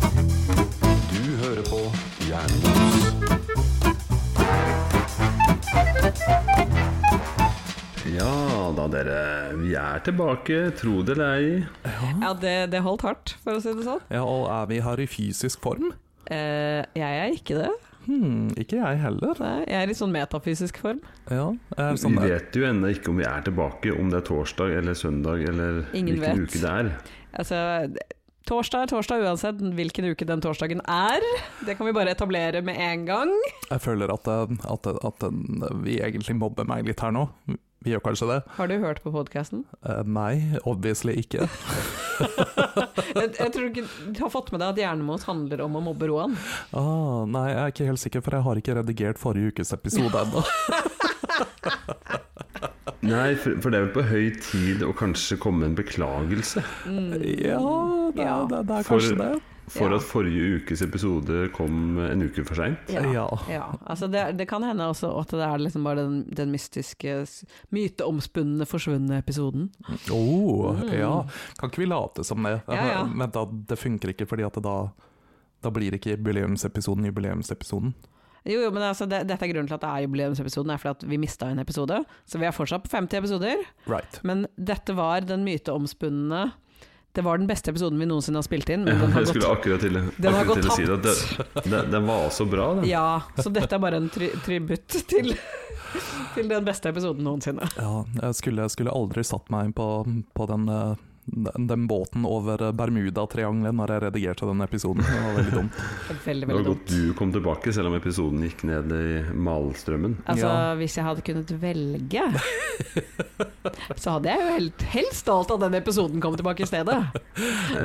Du hører på Jernbos. Ja da, dere. Vi er tilbake, tro det eller ei. Ja, det, det holdt hardt, for å si det sånn. Ja, og er vi her i fysisk form? Eh, jeg er ikke det. Hmm, ikke jeg heller. Nei, jeg er i sånn metafysisk form. Ja, er det Vi sånn der. vet jo ennå ikke om vi er tilbake, om det er torsdag eller søndag eller Ingen hvilken vet. uke det er. Altså, torsdag er torsdag uansett hvilken uke den torsdagen er. Det kan vi bare etablere med en gang. Jeg føler at, eh, at, at eh, vi egentlig mobber meg litt her nå. Vi gjør kanskje det? Har du hørt på podkasten? Eh, Nei, obviously ikke. Jeg, jeg tror ikke du har fått med deg at Hjernemos handler om å mobbe Roan. Ah, nei, jeg er ikke helt sikker, for jeg har ikke redigert forrige ukes episode ennå. Nei, for, for det er vel på høy tid å kanskje komme med en beklagelse Ja, det, Ja. det, det er For- kanskje det. for Ja. at forrige ukes episode kom en uke for seint. Ja. Ja, altså det, det kan hende også at det er liksom bare den, den mystiske, s- myteomspunne, forsvunne episoden. Oh, ja. Kan ikke vi late som det? Ja, ja. Men da, det funker ikke, fordi at det da, da blir ikke jubileumsepisoden jubileumsepisoden. Jo, jo, men altså det, dette er grunnen til at det er jubileumsepisoden, er fordi at vi mista en episode. Så vi er fortsatt på 50 episoder. Right. Men dette var den myteomspunne Det var den beste episoden vi noensinne har spilt inn. Men den har Jeg skulle gått akkurat til, Den har akkurat til å gått si det. at det- det- Den var så bra, den. Ja, så dette er bare en tri tributt til, til den beste episoden noensinne. Ja, jeg skulle, jeg skulle aldri satt meg på, på den, eh, den, den båten over Bermudatriangelet når jeg redigerte den episoden. Det var veldig dumt. Veldig, Det var veldig godt dumt. du kom tilbake, selv om episoden gikk ned i malstrømmen. Altså, Ja. hvis jeg hadde kunnet velge, så hadde jeg jo helt, helst valgt at den episoden kom tilbake i stedet.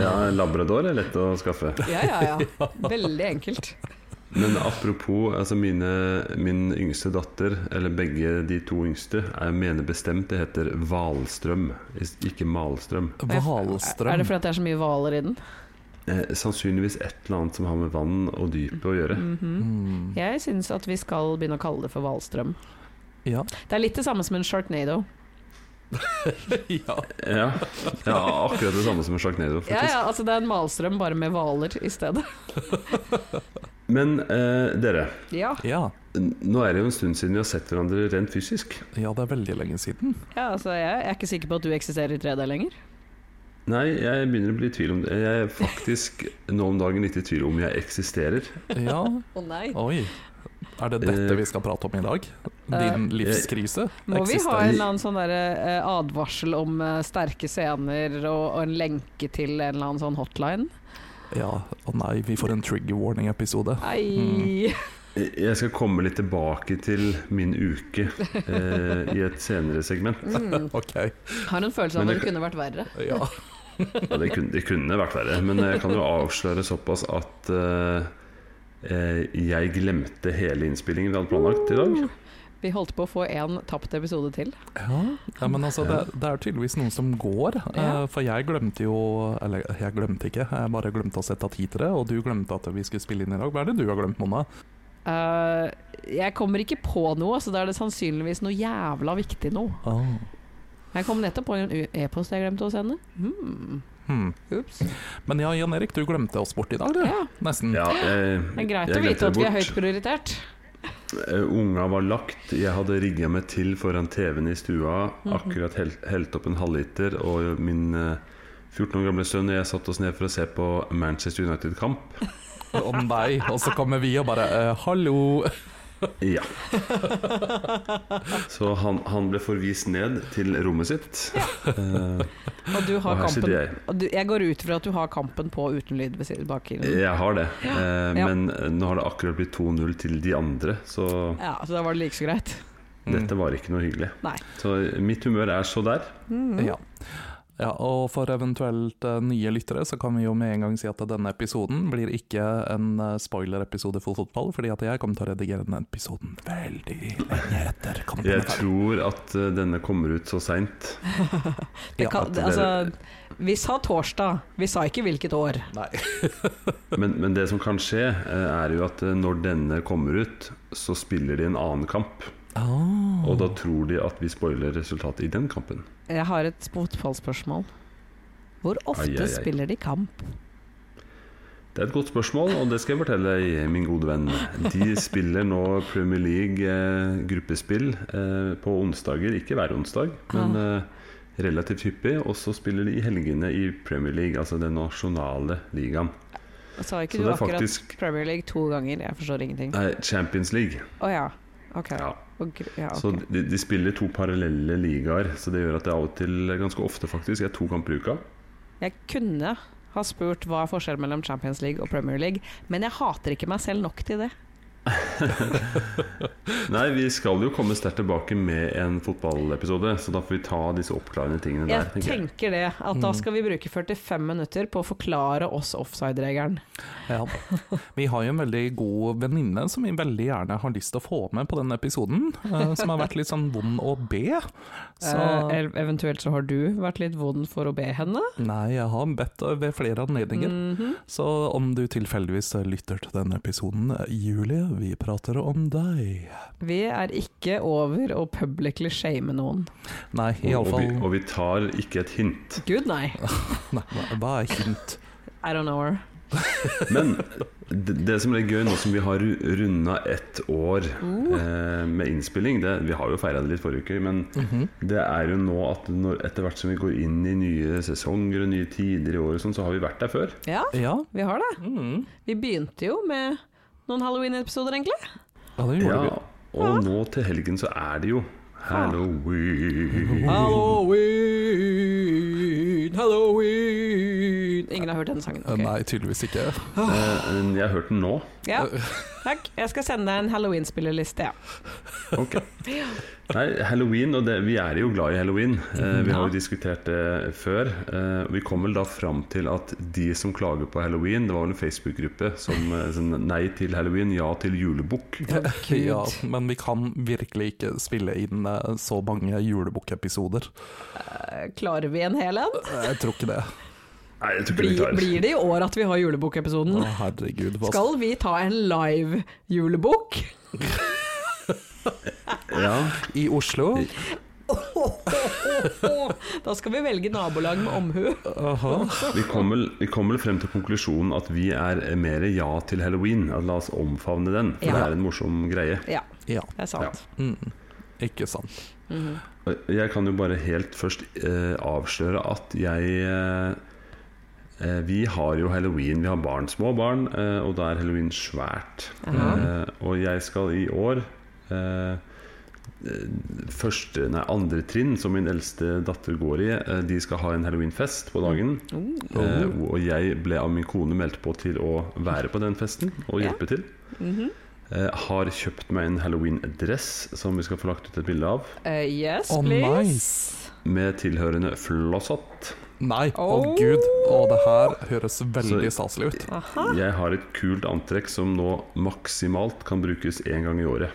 Ja, Labrador er lett å skaffe. Ja, ja, ja. Veldig enkelt. Men apropos, altså mine, min yngste datter, eller begge de to yngste, jeg mener bestemt det heter Valstrøm, is- ikke Malstrøm. Hvalstrøm. Er det fordi at det er så mye hvaler i den? Eh, sannsynligvis et eller annet som har med vann og dypet å gjøre. Mhm. Mm, Jeg syns at vi skal begynne å kalle det for hvalstrøm. ja. Det er litt det samme som en sharknado. ja. Ja, ja akkurat det samme som en sjarknado, faktisk. Ja, ja, altså det er en malstrøm bare med hvaler i stedet. Men eh, dere, Ja, Ja. n- nå er det jo en stund siden vi har sett hverandre rent fysisk. ja, det er veldig lenge siden. ja altså jeg er ikke sikker på at du eksisterer i 3D lenger. Nei, jeg begynner å bli i tvil om det. Jeg er faktisk nå om dagen litt i tvil om jeg eksisterer. Ja, Å nei. oi. Er det dette vi skal prate om i dag? Din livskrise? Eh. Må vi ha Eksisterer- en eller annen sånn der, eh, advarsel om eh, sterke scener og, og en lenke til en eller annen sånn hotline? Ja, å nei, vi får en trigger warning-episode. Nei. Jeg skal komme litt tilbake til min uke eh, i et senere segment. Mm. Ok, Har en følelse Men det av at det kunne vært verre. ja. Ja, det, kunne, det kunne vært verre, men jeg kan jo avsløre såpass at eh, eh, jeg glemte hele innspillingen vi hadde planlagt i Mm. dag. Vi holdt på å få én tapt episode til. Ja, ja men altså, det, det er tydeligvis noen som går. eh, Ja. For jeg glemte jo Eller, jeg glemte ikke, jeg bare glemte å sette av tid til det. Og du glemte at vi skulle spille inn i dag. Hva er det du har glemt, Mona? Eh, jeg kommer ikke på noe, så da er det sannsynligvis noe jævla viktig nå. Ah. Jeg kom nettopp på en u- e-post jeg glemte å sende. Hmm. Hmm. Ups. Men ja, Jan Erik, du glemte oss bort i dag, du. Ja, Nesten. Ja, eh, det er greit jeg å glemte vite at det vi er bort. høyt prioritert. Eh, Unga var lagt, jeg hadde rigga meg til foran TV-en i stua. Mhm. Akkurat hel helt opp en halvliter, og min eh, 14 år gamle sønn og jeg satte oss ned for å se på Manchester United-kamp. Å nei, og så kommer vi og bare eh, Hallo! Ja. Så han, han ble forvist ned til rommet sitt. Eh, Og du og har her sitter kampen jeg. og du, Jeg går ut fra at du har kampen på uten lyd ved siden bak i den. Jeg har det, eh, Ja. men nå har det akkurat blitt 2-0 til de andre, så Ja, så da var det like så greit. Mm. dette var ikke noe hyggelig. Nei. Så mitt humør er så der. Mm, Ja. ja, og for eventuelt eh, nye lyttere så kan vi jo med en gang si at denne episoden blir ikke en eh, spoiler-episode for fotball, fordi at jeg kommer til å redigere den episoden veldig lenge etter kampen. Jeg er ferdig. tror at eh, denne kommer ut så seint Det Ja, kan, at det, dere- altså, vi sa torsdag, vi sa ikke hvilket år. Nei. Men, men det som kan skje, eh, er jo at eh, når denne kommer ut, så spiller de en annen kamp. Ah. Og da tror de at vi spoiler resultatet i den kampen. Jeg har et fotballspørsmål. Hvor ofte Ai, ai, ai. spiller de kamp? Det er et godt spørsmål, og det skal jeg fortelle deg, min gode venn. De spiller nå Premier League eh, gruppespill eh, på onsdager, ikke hver onsdag, men Ah. eh, relativt hyppig. Og så spiller de i helgene i Premier League, altså den nasjonale ligaen. Sa ikke Så du det er akkurat faktisk Premier League to ganger? Jeg forstår ingenting. Å Nei, Champions League. ja. Ok. Ja. Og gr- ja, ok. Så de, de spiller to parallelle ligaer, så det gjør at det av og til, ganske ofte faktisk, er to kamper i uka. Jeg kunne ha spurt hva er forskjellen mellom Champions League og Premier League, men jeg hater ikke meg selv nok til det. Nei, vi skal jo komme sterkt tilbake med en fotballepisode, så da får vi ta disse oppklarende tingene der. Jeg tenker det, at da skal vi bruke 45 minutter på å forklare oss offside-regelen. Ja. Vi har jo en veldig god venninne som vi veldig gjerne har lyst til å få med på den episoden, eh, som har vært litt sånn vond å be. Så Eh, ev- eventuelt så har du vært litt vond for å be henne. nei, jeg har bedt ved flere anledninger. Mhm. Så om du tilfeldigvis eh, lytter til denne episoden, eh, Julie, vi prater om deg. Vi er ikke over å publicly shame noen. Nei, Og, og, vi, iallfall og vi tar ikke et hint. Gud, nei. Hva er hint? I don't know her. Men det, det som er gøy nå som vi har runda ett år Uh. eh, med innspilling det, Vi har jo feira det litt forrige uke, men Mhm. det er jo nå at når, etter hvert som vi går inn i nye sesonger og nye tider i året, og sånn, så har vi vært der før. Ja, Ja. vi har det. Mm. Vi begynte jo med noen Halloween-episoder, egentlig. ja, det gjorde vi. Ja, og nå til helgen så er det jo Halloween. Halloween, Halloween Ingen har hørt den sangen? Eh, ok. Nei, tydeligvis ikke. Eh, Jeg har hørt den nå. Ja, takk. Jeg skal sende deg en Halloween-spillerliste, ja. Ok. Nei, Halloween, og det, vi er jo glad i halloween. Eh, vi har jo diskutert det før. Eh, vi kom vel da fram til at de som klager på halloween Det var vel en Facebook-gruppe som eh, sånn nei til halloween, ja til julebukk. Ja, men vi kan virkelig ikke spille inn eh, så mange julebukkepisoder. Eh, Klarer vi en hel en? Eh, Jeg tror ikke det. Nei, jeg tror ikke vi Blir, klarer blir det i år at vi har Å, julebokepisoden? herregud. Hva Skal vi ta en live julebok? Ja, I Oslo? Da skal vi velge nabolag med omhu. Aha. vi kom, vel, vi kom vel frem til konklusjonen at vi er mer ja til halloween. At la oss omfavne den, for Ja. det er en morsom greie. Ja, Ja. det er sant. Mm. Ikke sant. Mhm. Og Jeg kan jo bare helt først eh, avsløre at jeg eh, eh, Vi har jo halloween. Vi har barn, små barn, eh, og da er halloween svært. Aha. Eh, og jeg skal i år eh, eh, Første, nei, andre trinn, som min eldste datter går i, eh, de skal ha en halloweenfest på dagen. Oh. Eh, og jeg ble av min kone meldt på til å være på den festen og Ja. hjelpe til. Mhm. Eh, har kjøpt meg en halloween-dress som vi skal få lagt ut et bilde av. Eh, yes, Oh, please. nice. med tilhørende flosshatt. Nei, å Åh. gud. Å, det her høres veldig staselig ut. Aha. Jeg har et kult antrekk som nå maksimalt kan brukes én gang i året.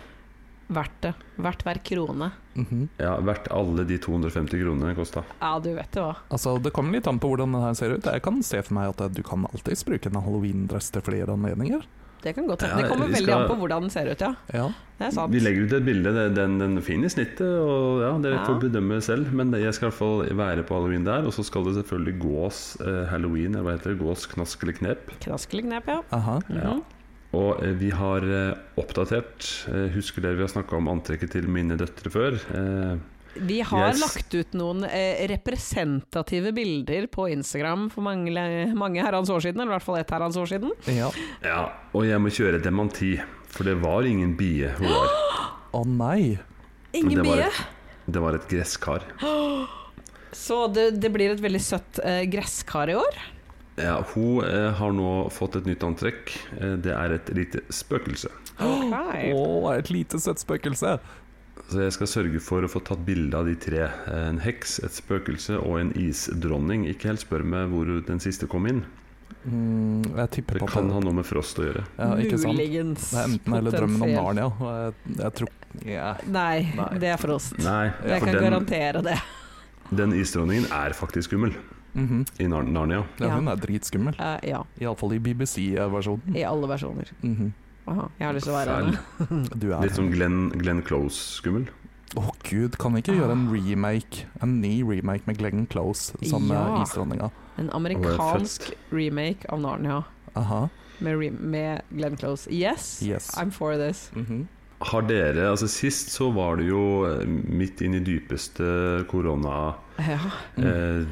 Verdt det. Verdt hver krone. Mhm. Ja, Verdt alle de 250 kronene det kosta. Ja, du vet det hva. Altså, Det kommer litt an på hvordan den her ser ut. Jeg kan se for meg at eh, du kan alltids bruke en halloween-dress til flere anledninger. Det kan godt Ja, hende. Det kommer vi veldig skal- an på hvordan den ser ut, ja. Ja. Det er sant. Vi legger ut et bilde. det- Den, den er fin i snittet. og ja, Dere Ja. får bedømme selv. Men jeg skal i hvert fall være på halloween der. Og så skal det selvfølgelig gås eh, halloween, eller hva heter det? Gås knask eller knep. Knaskelig knep, ja. Aha. Ja. Mhm. Og eh, vi har eh, oppdatert. Eh, husker dere vi har snakka om antrekket til mine døtre før? Eh, Vi har Yes. lagt ut noen eh, representative bilder på Instagram for mange, mange herrens år siden, eller i hvert fall ett herrens år siden. ja. ja, og jeg må kjøre dementi. For det var ingen bie hun var. Å nei. Det Ingen var bie. et- Det var et gresskar. Så det, det blir et veldig søtt eh, gresskar i år. Ja, hun eh, har nå fått et nytt antrekk. Eh, det er et lite spøkelse. Ok. Å, et lite søtt spøkelse. Så jeg skal sørge for å få tatt bilde av de tre. Eh, En heks, et spøkelse og en isdronning. Ikke helt spør meg hvor den siste kom inn. Mm, jeg tipper Det på kan ha noe med frost å gjøre. Ja, ikke sant? Muligens. Det er enten eller drømmen om potensielt. Narnia. og Jeg, jeg tror ja. Nei, Nei. det er frost. Nei, Jeg for kan den, garantere det. den isdronningen er faktisk skummel Mhm. i Nar- Narnia. ja, Ja. hun er dritskummel. Eh, ja, Iallfall i BBC-versjonen. i alle versjoner. Mhm. Aha, jeg har lyst til å være Fæl. henne. Du er Litt sånn Glenn, Glenn Close-skummel. Å gud, kan vi ikke gjøre en remake? En ny remake med Glenn Close som Ja. eh, isdronninga? En amerikansk remake av Narnia Aha, med, re med Glenn Close. Yes, yes. I'm for this. Mhm. Har dere Altså Sist så var det jo eh, midt inn i dypeste korona... Ja. Eh,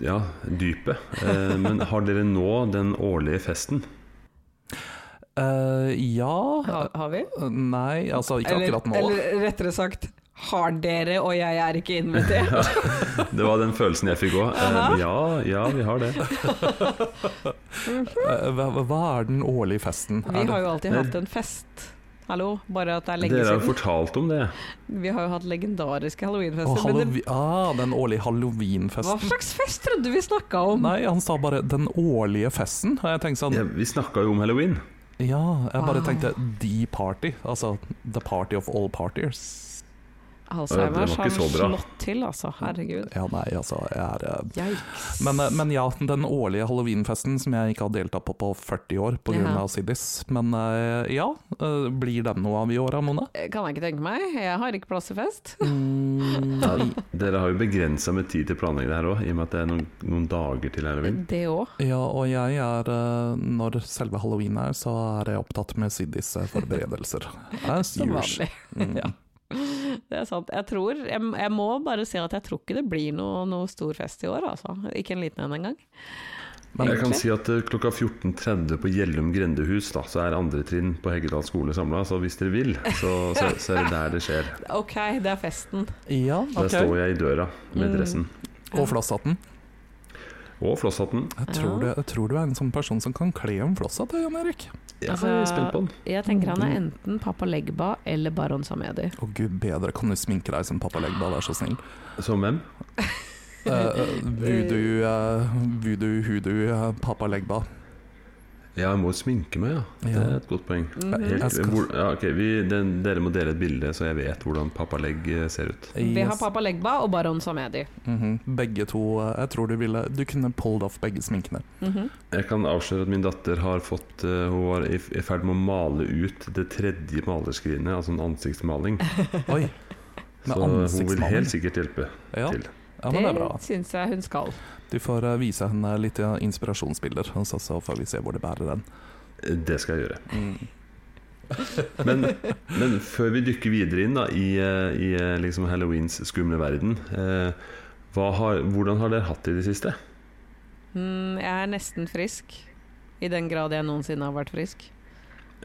ja, dypet. Eh, men har dere nå den årlige festen? Eh, ja Har, har vi? Eh, Nei, altså ikke Eller, akkurat nå. eller rettere sagt, har dere og jeg er ikke invitert? Det var den følelsen jeg fikk òg. Eh, ja, ja, vi har det. Eh, hva, hva er den årlige festen? Vi er det, har jo alltid Nei. hatt en fest. Hallo, bare at det er lenge Dere har jo siden. fortalt om det. Vi har jo hatt legendariske Å, halloweenfester. men det, hallowe- ah, den årlige hva halloweenfesten. slags fest trodde vi snakka om? Nei, han sa bare 'den årlige festen'. Og jeg tenkte sånn Ja, vi snakka jo om halloween. Ja, jeg bare Ah. tenkte 'the party'. Altså 'the party of all partiers'. Alzheimer Det var har ikke så bra. slått til, altså. Herregud. Ja, nei, altså. Jeg er eh, Yikes. Men, eh, men ja, den årlige halloweenfesten som jeg ikke har deltatt på på 40 år pga. Ja. av Siddis. Men eh, ja, eh, blir den noe av i år, Mone? Eh, kan jeg ikke tenke meg. Jeg har ikke plass til fest. Mm, Dere har jo begrensa med tid til å planlegge det her òg, i og med at det er noen, noen dager til halloween. Det òg. ja, og jeg er eh, Når selve halloween er, så er jeg opptatt med Siddis eh, forberedelser. As Som usual. vanlig. Mm. Ja. Det er sant. Jeg tror Jeg, jeg må bare si at jeg tror ikke det blir noe, noe stor fest i år, altså. Ikke en liten en engang. Men- jeg kan Egentlig. si at eh, klokka 14.30 på Gjellum grendehus da, så er andre trinn på Heggedal skole samla. Så hvis dere vil, så, så, så er det der det skjer. Ok, det er festen. Ja, Der ok. står jeg i døra med Mm. dressen Og flosshatten. og flosshatten. Jeg tror, du, jeg tror du er en sånn person som kan kle en flosshatt, eh, Jan Erik. Jeg er Altså- spent på den. Jeg tenker han Mm. er enten Papa Legba eller Baron Samedi. Å gud bedre, kan du sminke deg som pappa Legba, vær så snill? Altså- Som hvem? Eh, eh, voodoo, eh, voodoo, hoodoo, eh, pappa Legba. Ja, jeg må jo sminke meg, ja. Det er et godt poeng. Mhm. Jeg- jeg Helt, skal- hvor, ja, ok, vi, den, dere må dele et bilde, så jeg vet hvordan pappalegg eh, ser ut. Vi har Yes. Papa Legba og Baron Samedi. Mhm. Begge to eh, Jeg tror du ville Du kunne pulled off begge sminkene. Mhm. Jeg kan avsløre at min datter har fått eh, Hun var i, i ferd med å male ut det tredje malerskrinet, altså en ansiktsmaling. Oi. Med Så hun vil ansiktsmaling. helt sikkert hjelpe Ja. til. ja, men det er bra. Det syns jeg hun skal. Du får eh, vise henne litt eh, inspirasjonsbilder, og så, så får vi se hvor det bærer den. Eh, Det skal jeg gjøre. Mm. Men, men før vi dykker videre inn da, i, eh, i eh, liksom Halloweens skumle verden eh, hva har, Hvordan har dere hatt det i det siste? Mm, jeg er nesten frisk. I den grad jeg noensinne har vært frisk.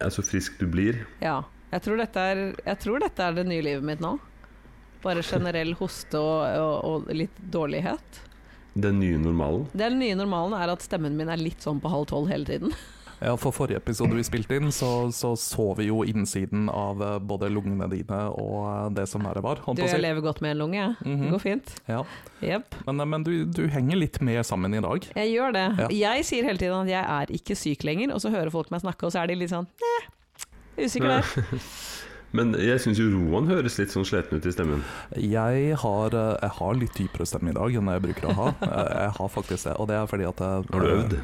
Er så frisk du blir. Ja. Jeg tror dette er, jeg tror dette er det nye livet mitt nå. Bare generell hoste og, og, og litt dårlighet. Den nye normalen. Den nye normalen er at stemmen min er litt sånn på halv tolv hele tiden. Ja, For forrige episode vi spilte inn, så så, så vi jo innsiden av eh, både lungene dine og eh, det som verre var. holdt Du, på å si. jeg lever godt med en lunge, jeg. Det Mhm. går fint. Ja. Jep. Men, eh, men du, du henger litt mer sammen i dag. Jeg gjør det. Ja. Jeg sier hele tiden at jeg er ikke syk lenger, og så hører folk meg snakke, og så er de litt sånn Neh, usikker der. Men jeg syns jo Roan høres litt sånn sliten ut i stemmen. Jeg har, eh, jeg har litt dypere stemme i dag enn jeg bruker å ha. Eh, Jeg har faktisk det, og det er fordi at jeg, Har du øvd?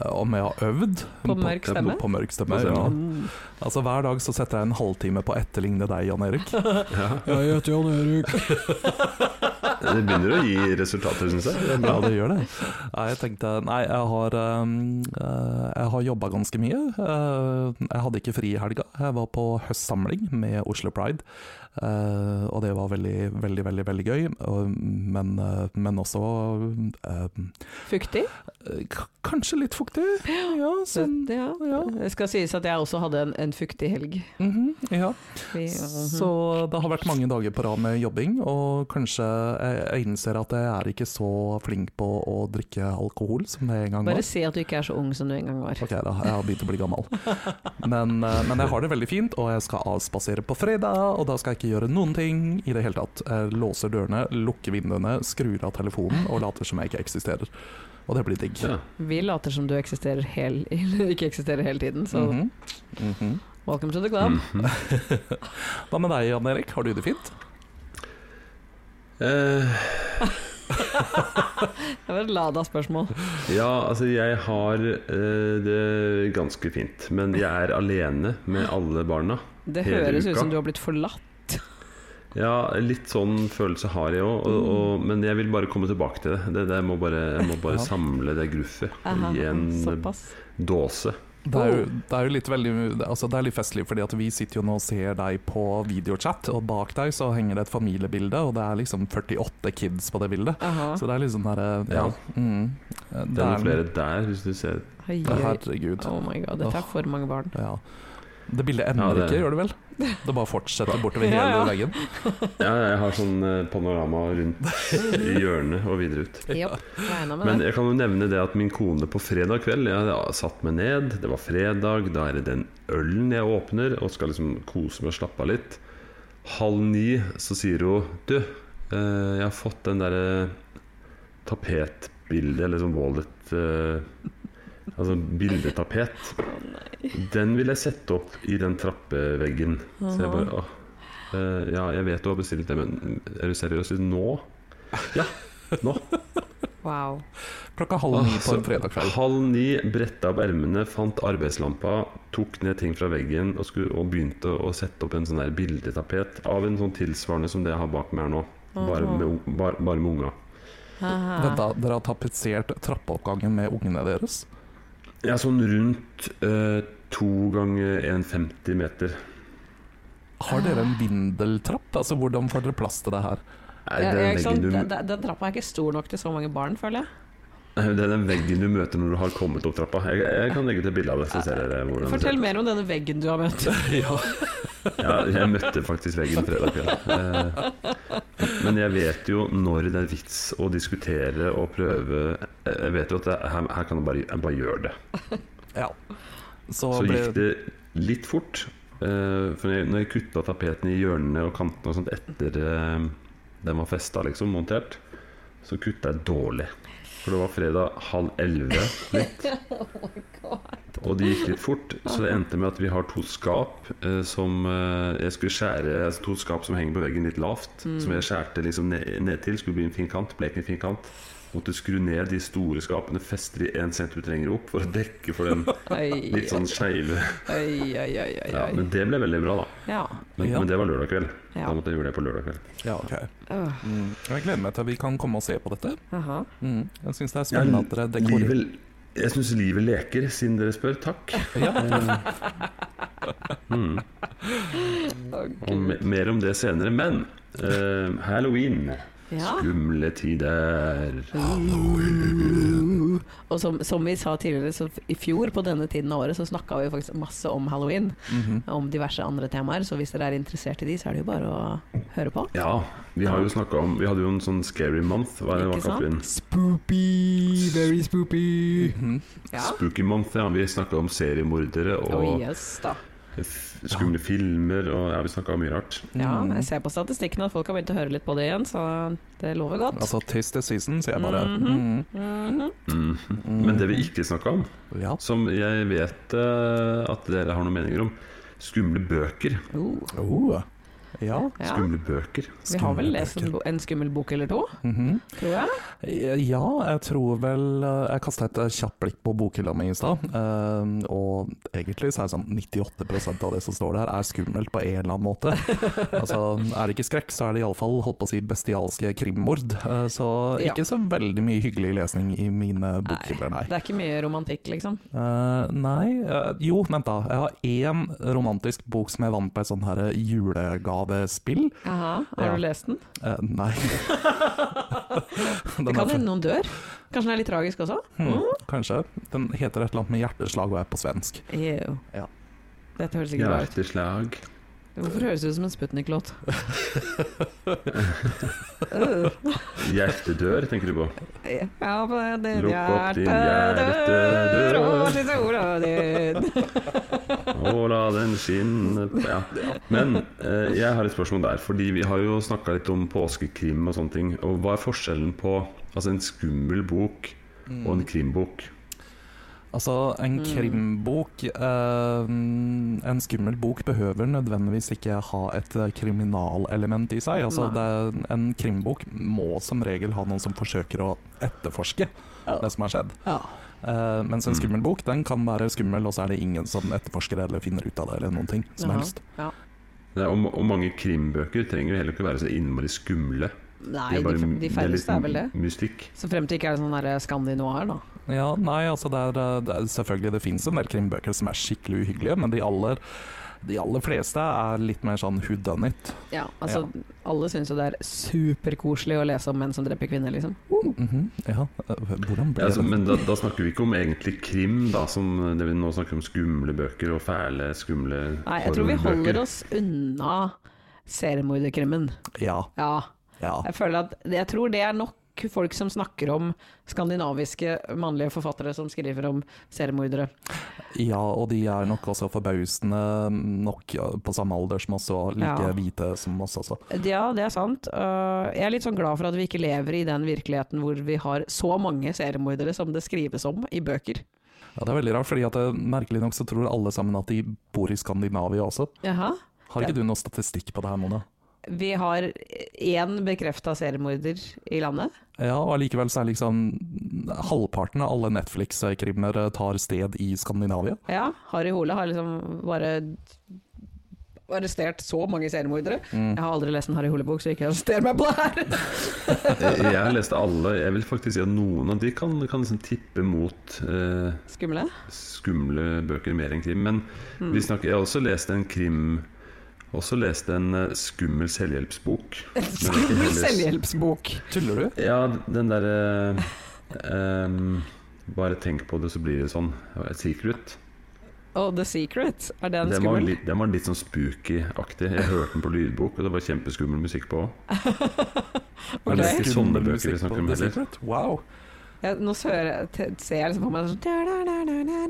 Eh, Om jeg har øvd På mørk stemme? På, på mørk stemme, På ja. stemme. Altså Hver dag så setter jeg en halvtime på å etterligne deg, Jan Erik. Ja. Jeg heter Jan Erik. Det begynner å gi resultater, syns jeg. Det er Ja, bra. det gjør det. Nei, jeg tenkte Nei, jeg har, um, eh, jeg har jobba ganske mye. Eh, Jeg hadde ikke fri i helga. Jeg var på høstsamling med Oslo Pride, eh, og det var veldig, veldig, veldig veldig gøy. Og- Men, eh, men også eh, Fuktig. k- kanskje litt fuktig. Ja, Så, sånn. ja. Ja. Det skal sies at jeg også hadde en, en fuktig helg. mhm, ja. Vi, Så det har vært mange dager på rad med jobbing, og kanskje jeg jeg innser at jeg er ikke så flink på å drikke alkohol som jeg en gang Bare var. si at du ikke er så ung som du en gang var. Ok da, jeg har begynt å bli gammel. Men, eh, men jeg har det veldig fint, og jeg skal avspasere på fredag, og da skal jeg ikke gjøre noen ting i det hele tatt. Jeg låser dørene, lukker vinduene, skrur av telefonen og later som jeg ikke eksisterer. Og det blir digg. Ja. Vi later som du eksisterer hel, eller ikke eksisterer hele tiden, så Mhm. Mhm. welcome to the club. Mhm. Hva med deg, Jan Erik, har du det fint? Eh, Det var et lada spørsmål. Ja, altså jeg har eh, det ganske fint. Men jeg er alene med alle barna. Det Hele høres ut uka. som du har blitt forlatt. Ja, litt sånn følelse har jeg òg, og, og, men jeg vil bare komme tilbake til det. det, det jeg må bare, jeg må bare Ja. samle det gruffet Aha, i en såpass. dåse. Det er, jo, Oh. det er jo litt veldig altså Det er litt festlig, fordi at vi sitter jo nå og ser deg på videochat, og bak deg så henger det et familiebilde, og det er liksom 48 kids på det bildet. Aha. Så det er litt sånn derre ja. Ja. Mm, Det er noen flere der, hvis du ser. Oi, Ja, oi. Herregud. Oh my god, dette er for mange barn. Ja. Det bildet ender Ja, det- ikke, gjør det vel? Det bare fortsetter bortover hele Ja, ja. veggen. Ja, jeg har sånn eh, panorama rundt i hjørnet og videre ut. Jopp, regna med Men det. jeg kan jo nevne det at min kone på fredag kveld Jeg hadde satt meg ned, det var fredag, da er det den ølen jeg åpner og skal liksom kose meg og slappe av litt. Halv ni så sier hun Du, eh, jeg har fått den derre tapetbildet, eller sånn wallet eh, Altså bildetapet. Den vil jeg sette opp i den trappeveggen. Så jeg bare åh. eh, Ja, jeg vet du har bestilt det, men er du seriøs? Nå? Ja, nå. Wow. Klokka halv ni på Så en fredag kveld. Halv ni bretta opp ermene, fant arbeidslampa, tok ned ting fra veggen og, skulle, og begynte å sette opp en sånn der bildetapet av en sånn tilsvarende som det jeg har bak meg her nå. Bare med, ung- bare, bare med unga. Vent Aha. da, dere har tapetsert trappeoppgangen med ungene deres? Jeg er sånn rundt eh, to ganger 1,50 meter. Har dere en vindeltrapp? Altså, Hvordan får dere plass til det her? Nei, Ja, det ja, er ikke den sant? Den, veggen, du, den trappa er ikke stor nok til så mange barn, føler jeg. det er den veggen du møter når du har kommet opp trappa. Jeg, jeg kan legge til bilde av det, så ser dere hvordan det Fortell ser ut. mer om denne veggen du har møtt. Ja. Ja, jeg møtte faktisk veggen fredag kveld. Eh, Men jeg vet jo når det er vits å diskutere og prøve Eh, Jeg vet jo at det, her, her kan jeg bare, jeg bare gjøre det. ja. Så, Så ble, gikk det litt fort. eh, For når jeg- når jeg kutta tapetene i hjørnene og kantene og sånt etter eh, den var festa, liksom, montert, så kutta jeg dårlig. For det var fredag halv elleve litt. Oh Og det gikk litt fort, så det endte med at vi har to skap eh, som eh, jeg skulle skjære altså To skap som henger på veggen litt lavt, Mm. som jeg skjærte liksom ned, ned til. Skulle bli en fin kant. Ble ikke en fin kant. Måtte skru ned de store skapene, feste de én centimeter lenger opp for å dekke for den Oi, litt sånn skeive oi, oi, oi, oi. ja, oi. men det ble veldig bra, da. Ja. Men, Ja. men det var lørdag kveld. Ja. Da måtte jeg gjøre det på lørdag kveld. ja, ok. Øh, Mm. Jeg gleder meg til vi kan komme og se på dette. aha. Mm. Jeg syns det er spennende at dere dekorerer. Livet- jeg syns livet leker, siden dere spør. Takk. Mm. Å, Og me Gud. mer om det senere. Men eh, halloween. Ja. Skumle tider. Og som, som vi sa tidligere, så f- i fjor på denne tiden av året så snakka vi faktisk masse om halloween. Mhm. Om diverse andre temaer, så hvis dere er interessert i de, så er det jo bare å høre på. Ja, vi har jo snakket om Vi hadde jo en sånn scary month. Hva er det Ikke sant? Katrin? Spoopy, very spoopy. Ja. Spooky month, ja. Vi snakka om seriemordere og Oh, yes, da. f- skumle filmer og ja, vi snakka om mye rart. Ja, Mm. jeg ser på statistikken at folk har begynt å høre litt på det igjen, så det lover godt. Altså, taste the season, sier jeg bare. Mhm. Mhm. Mhm. Men det vi ikke snakka om, Mm. Ja. som jeg vet eh, at dere har noen meninger om, skumle bøker. Oh, Oh. ja. ja. Skumle bøker. Vi har vel lest en, Skumle bo- en skummel bok eller to, Mhm. tror jeg. Ja, jeg tror vel eh, Jeg kasta et kjapt blikk på bokhylla mi i stad, eh, og egentlig så er det sånn 98 av det som står der, er skummelt på en eller annen måte. Altså, Er det ikke skrekk, så er det iallfall holdt på å si bestialske krimmord. eh, Så Ja. ikke så veldig mye hyggelig lesning i mine bokhyller, nei. Det er ikke mye romantikk, liksom. Eh, nei eh, Jo, vent da. Jeg har én romantisk bok som jeg vant på et sånn her julegavespill. Aha, har Ja. du lest den? Eh, nei. Den Det er kan fra- hende Mm. noen dør. Kanskje den er litt tragisk også? Hmm, kanskje. Den heter et eller annet med hjerteslag og er på svensk. Ew. Ja. Dette høres ikke bra ut. Hjerteslag. Hvorfor høres det ut som en Sputnik-låt? Hjertedør, tenker du på. Ja, på din Lukk opp din hjertedør, hjertedør. og siste ordet ditt. Å, la den skinne på- ja. Men eh, jeg har et spørsmål der. Fordi vi har jo snakka litt om påskekrim og sånne ting. Og Mm. hva er forskjellen på altså en skummel bok og en krimbok? Altså, en Mm. krimbok eh, En skummel bok behøver nødvendigvis ikke ha et eh, kriminalelement i seg. Altså, det, en krimbok må som regel ha noen som forsøker å etterforske det som har skjedd. Ja. Eh, mens en Mm. skummel bok den kan være skummel, og så er det ingen som etterforsker det eller finner ut av det. eller noen ting som Jaha. helst. Ja. Det er, og, og mange krimbøker trenger jo heller ikke være så innmari skumle. Nei, de, bare- f- de det færreste er vel det. Mystikk. Så frem til ikke er det sånn der skandinoir, da. Ja, nei, altså det er, eh, det er selvfølgelig det finnes en del krimbøker som er skikkelig uhyggelige, men de aller, de aller fleste er litt mer sånn who done it. Ja, altså Alle syns jo det er superkoselig å lese om menn som dreper kvinner, liksom. Mhm, ja, eh, hvordan Ja, ble altså, det? men da, da snakker vi ikke om egentlig krim, da, som det vi nå snakker om skumle bøker og fæle, skumle Nei, jeg tror vi horrorbøker. holder oss unna seriemorderkrimmen. Ja, Ja. ja. Jeg føler at Jeg tror det er nok folk som snakker om skandinaviske mannlige forfattere som skriver om seriemordere. Ja, og de er nok også forbausende nok ja, på samme alder som oss, og like Ja. hvite som oss også. Ja, det er sant. Øh, jeg er litt sånn glad for at vi ikke lever i den virkeligheten hvor vi har så mange seriemordere som det skrives om i bøker. Ja, Det er veldig rart, fordi at eh, merkelig nok så tror alle sammen at de bor i Skandinavia også. Jaha. Har ikke du noe statistikk på det her, Mona? Vi har én bekrefta seriemorder i landet. Ja, og allikevel så er liksom halvparten av alle Netflix-krimmer eh, tar sted i Skandinavia. Ja, Harry Hole har liksom bare arrestert så mange seriemordere. Jeg har aldri lest en Harry Hole-bok, så ikke arrester meg på det her! Jeg Eh, jeg har lest alle. Jeg vil faktisk si at noen av de kan, kan liksom tippe mot eh, Skumle. skumle bøker mer enn krim. Men Hmm. vi snakker, jeg har også lest en krim Også lest en eh, skummel selvhjelpsbok. En Men det er ikke skummel heller- selvhjelpsbok. Tuller du? Ja, den derre ehm, Bare tenk på det, så blir det sånn. Secret. Og Oh, The Secret, er den Den var, skummel? litt, den var litt sånn spooky-aktig. Jeg hørte den på lydbok, og det var kjempeskummel musikk på. Ok. Men det er ikke sånne Skummel bøker vi musikk snakker på om The heller. Secret? Wow. Ja, nå ser jeg, te- ser jeg liksom på meg sånn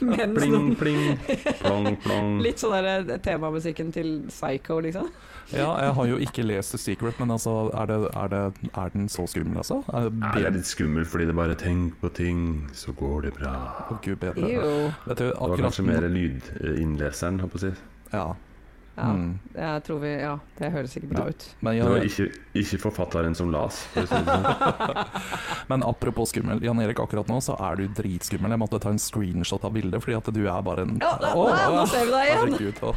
Mens Pling, noen pling, plong, plong. Litt sånn der temamusikken til Psycho, liksom. Ja, jeg har jo ikke lest The Secret, men altså, er, det, er, det, er den så skummel, altså? Er Ja, det det er bedre? litt skummelt fordi det bare Tenk på ting, så går det bra. Å, gud bedre. Jo. Vet du, Det var akkurat kanskje mer lydinnleseren, holdt på å si. Ja. Ja, Mm. jeg tror vi Ja, det høres ikke bra ut. Men, Det var Jan, ikke, ikke forfatteren som las. For å si det sånn. men apropos skummel, Jan Erik, akkurat nå så er du dritskummel. Jeg måtte ta en screenshot av bildet, fordi at du er bare en Ja, da- Å, nei, nå ser vi deg altså, igjen. Herregud. å.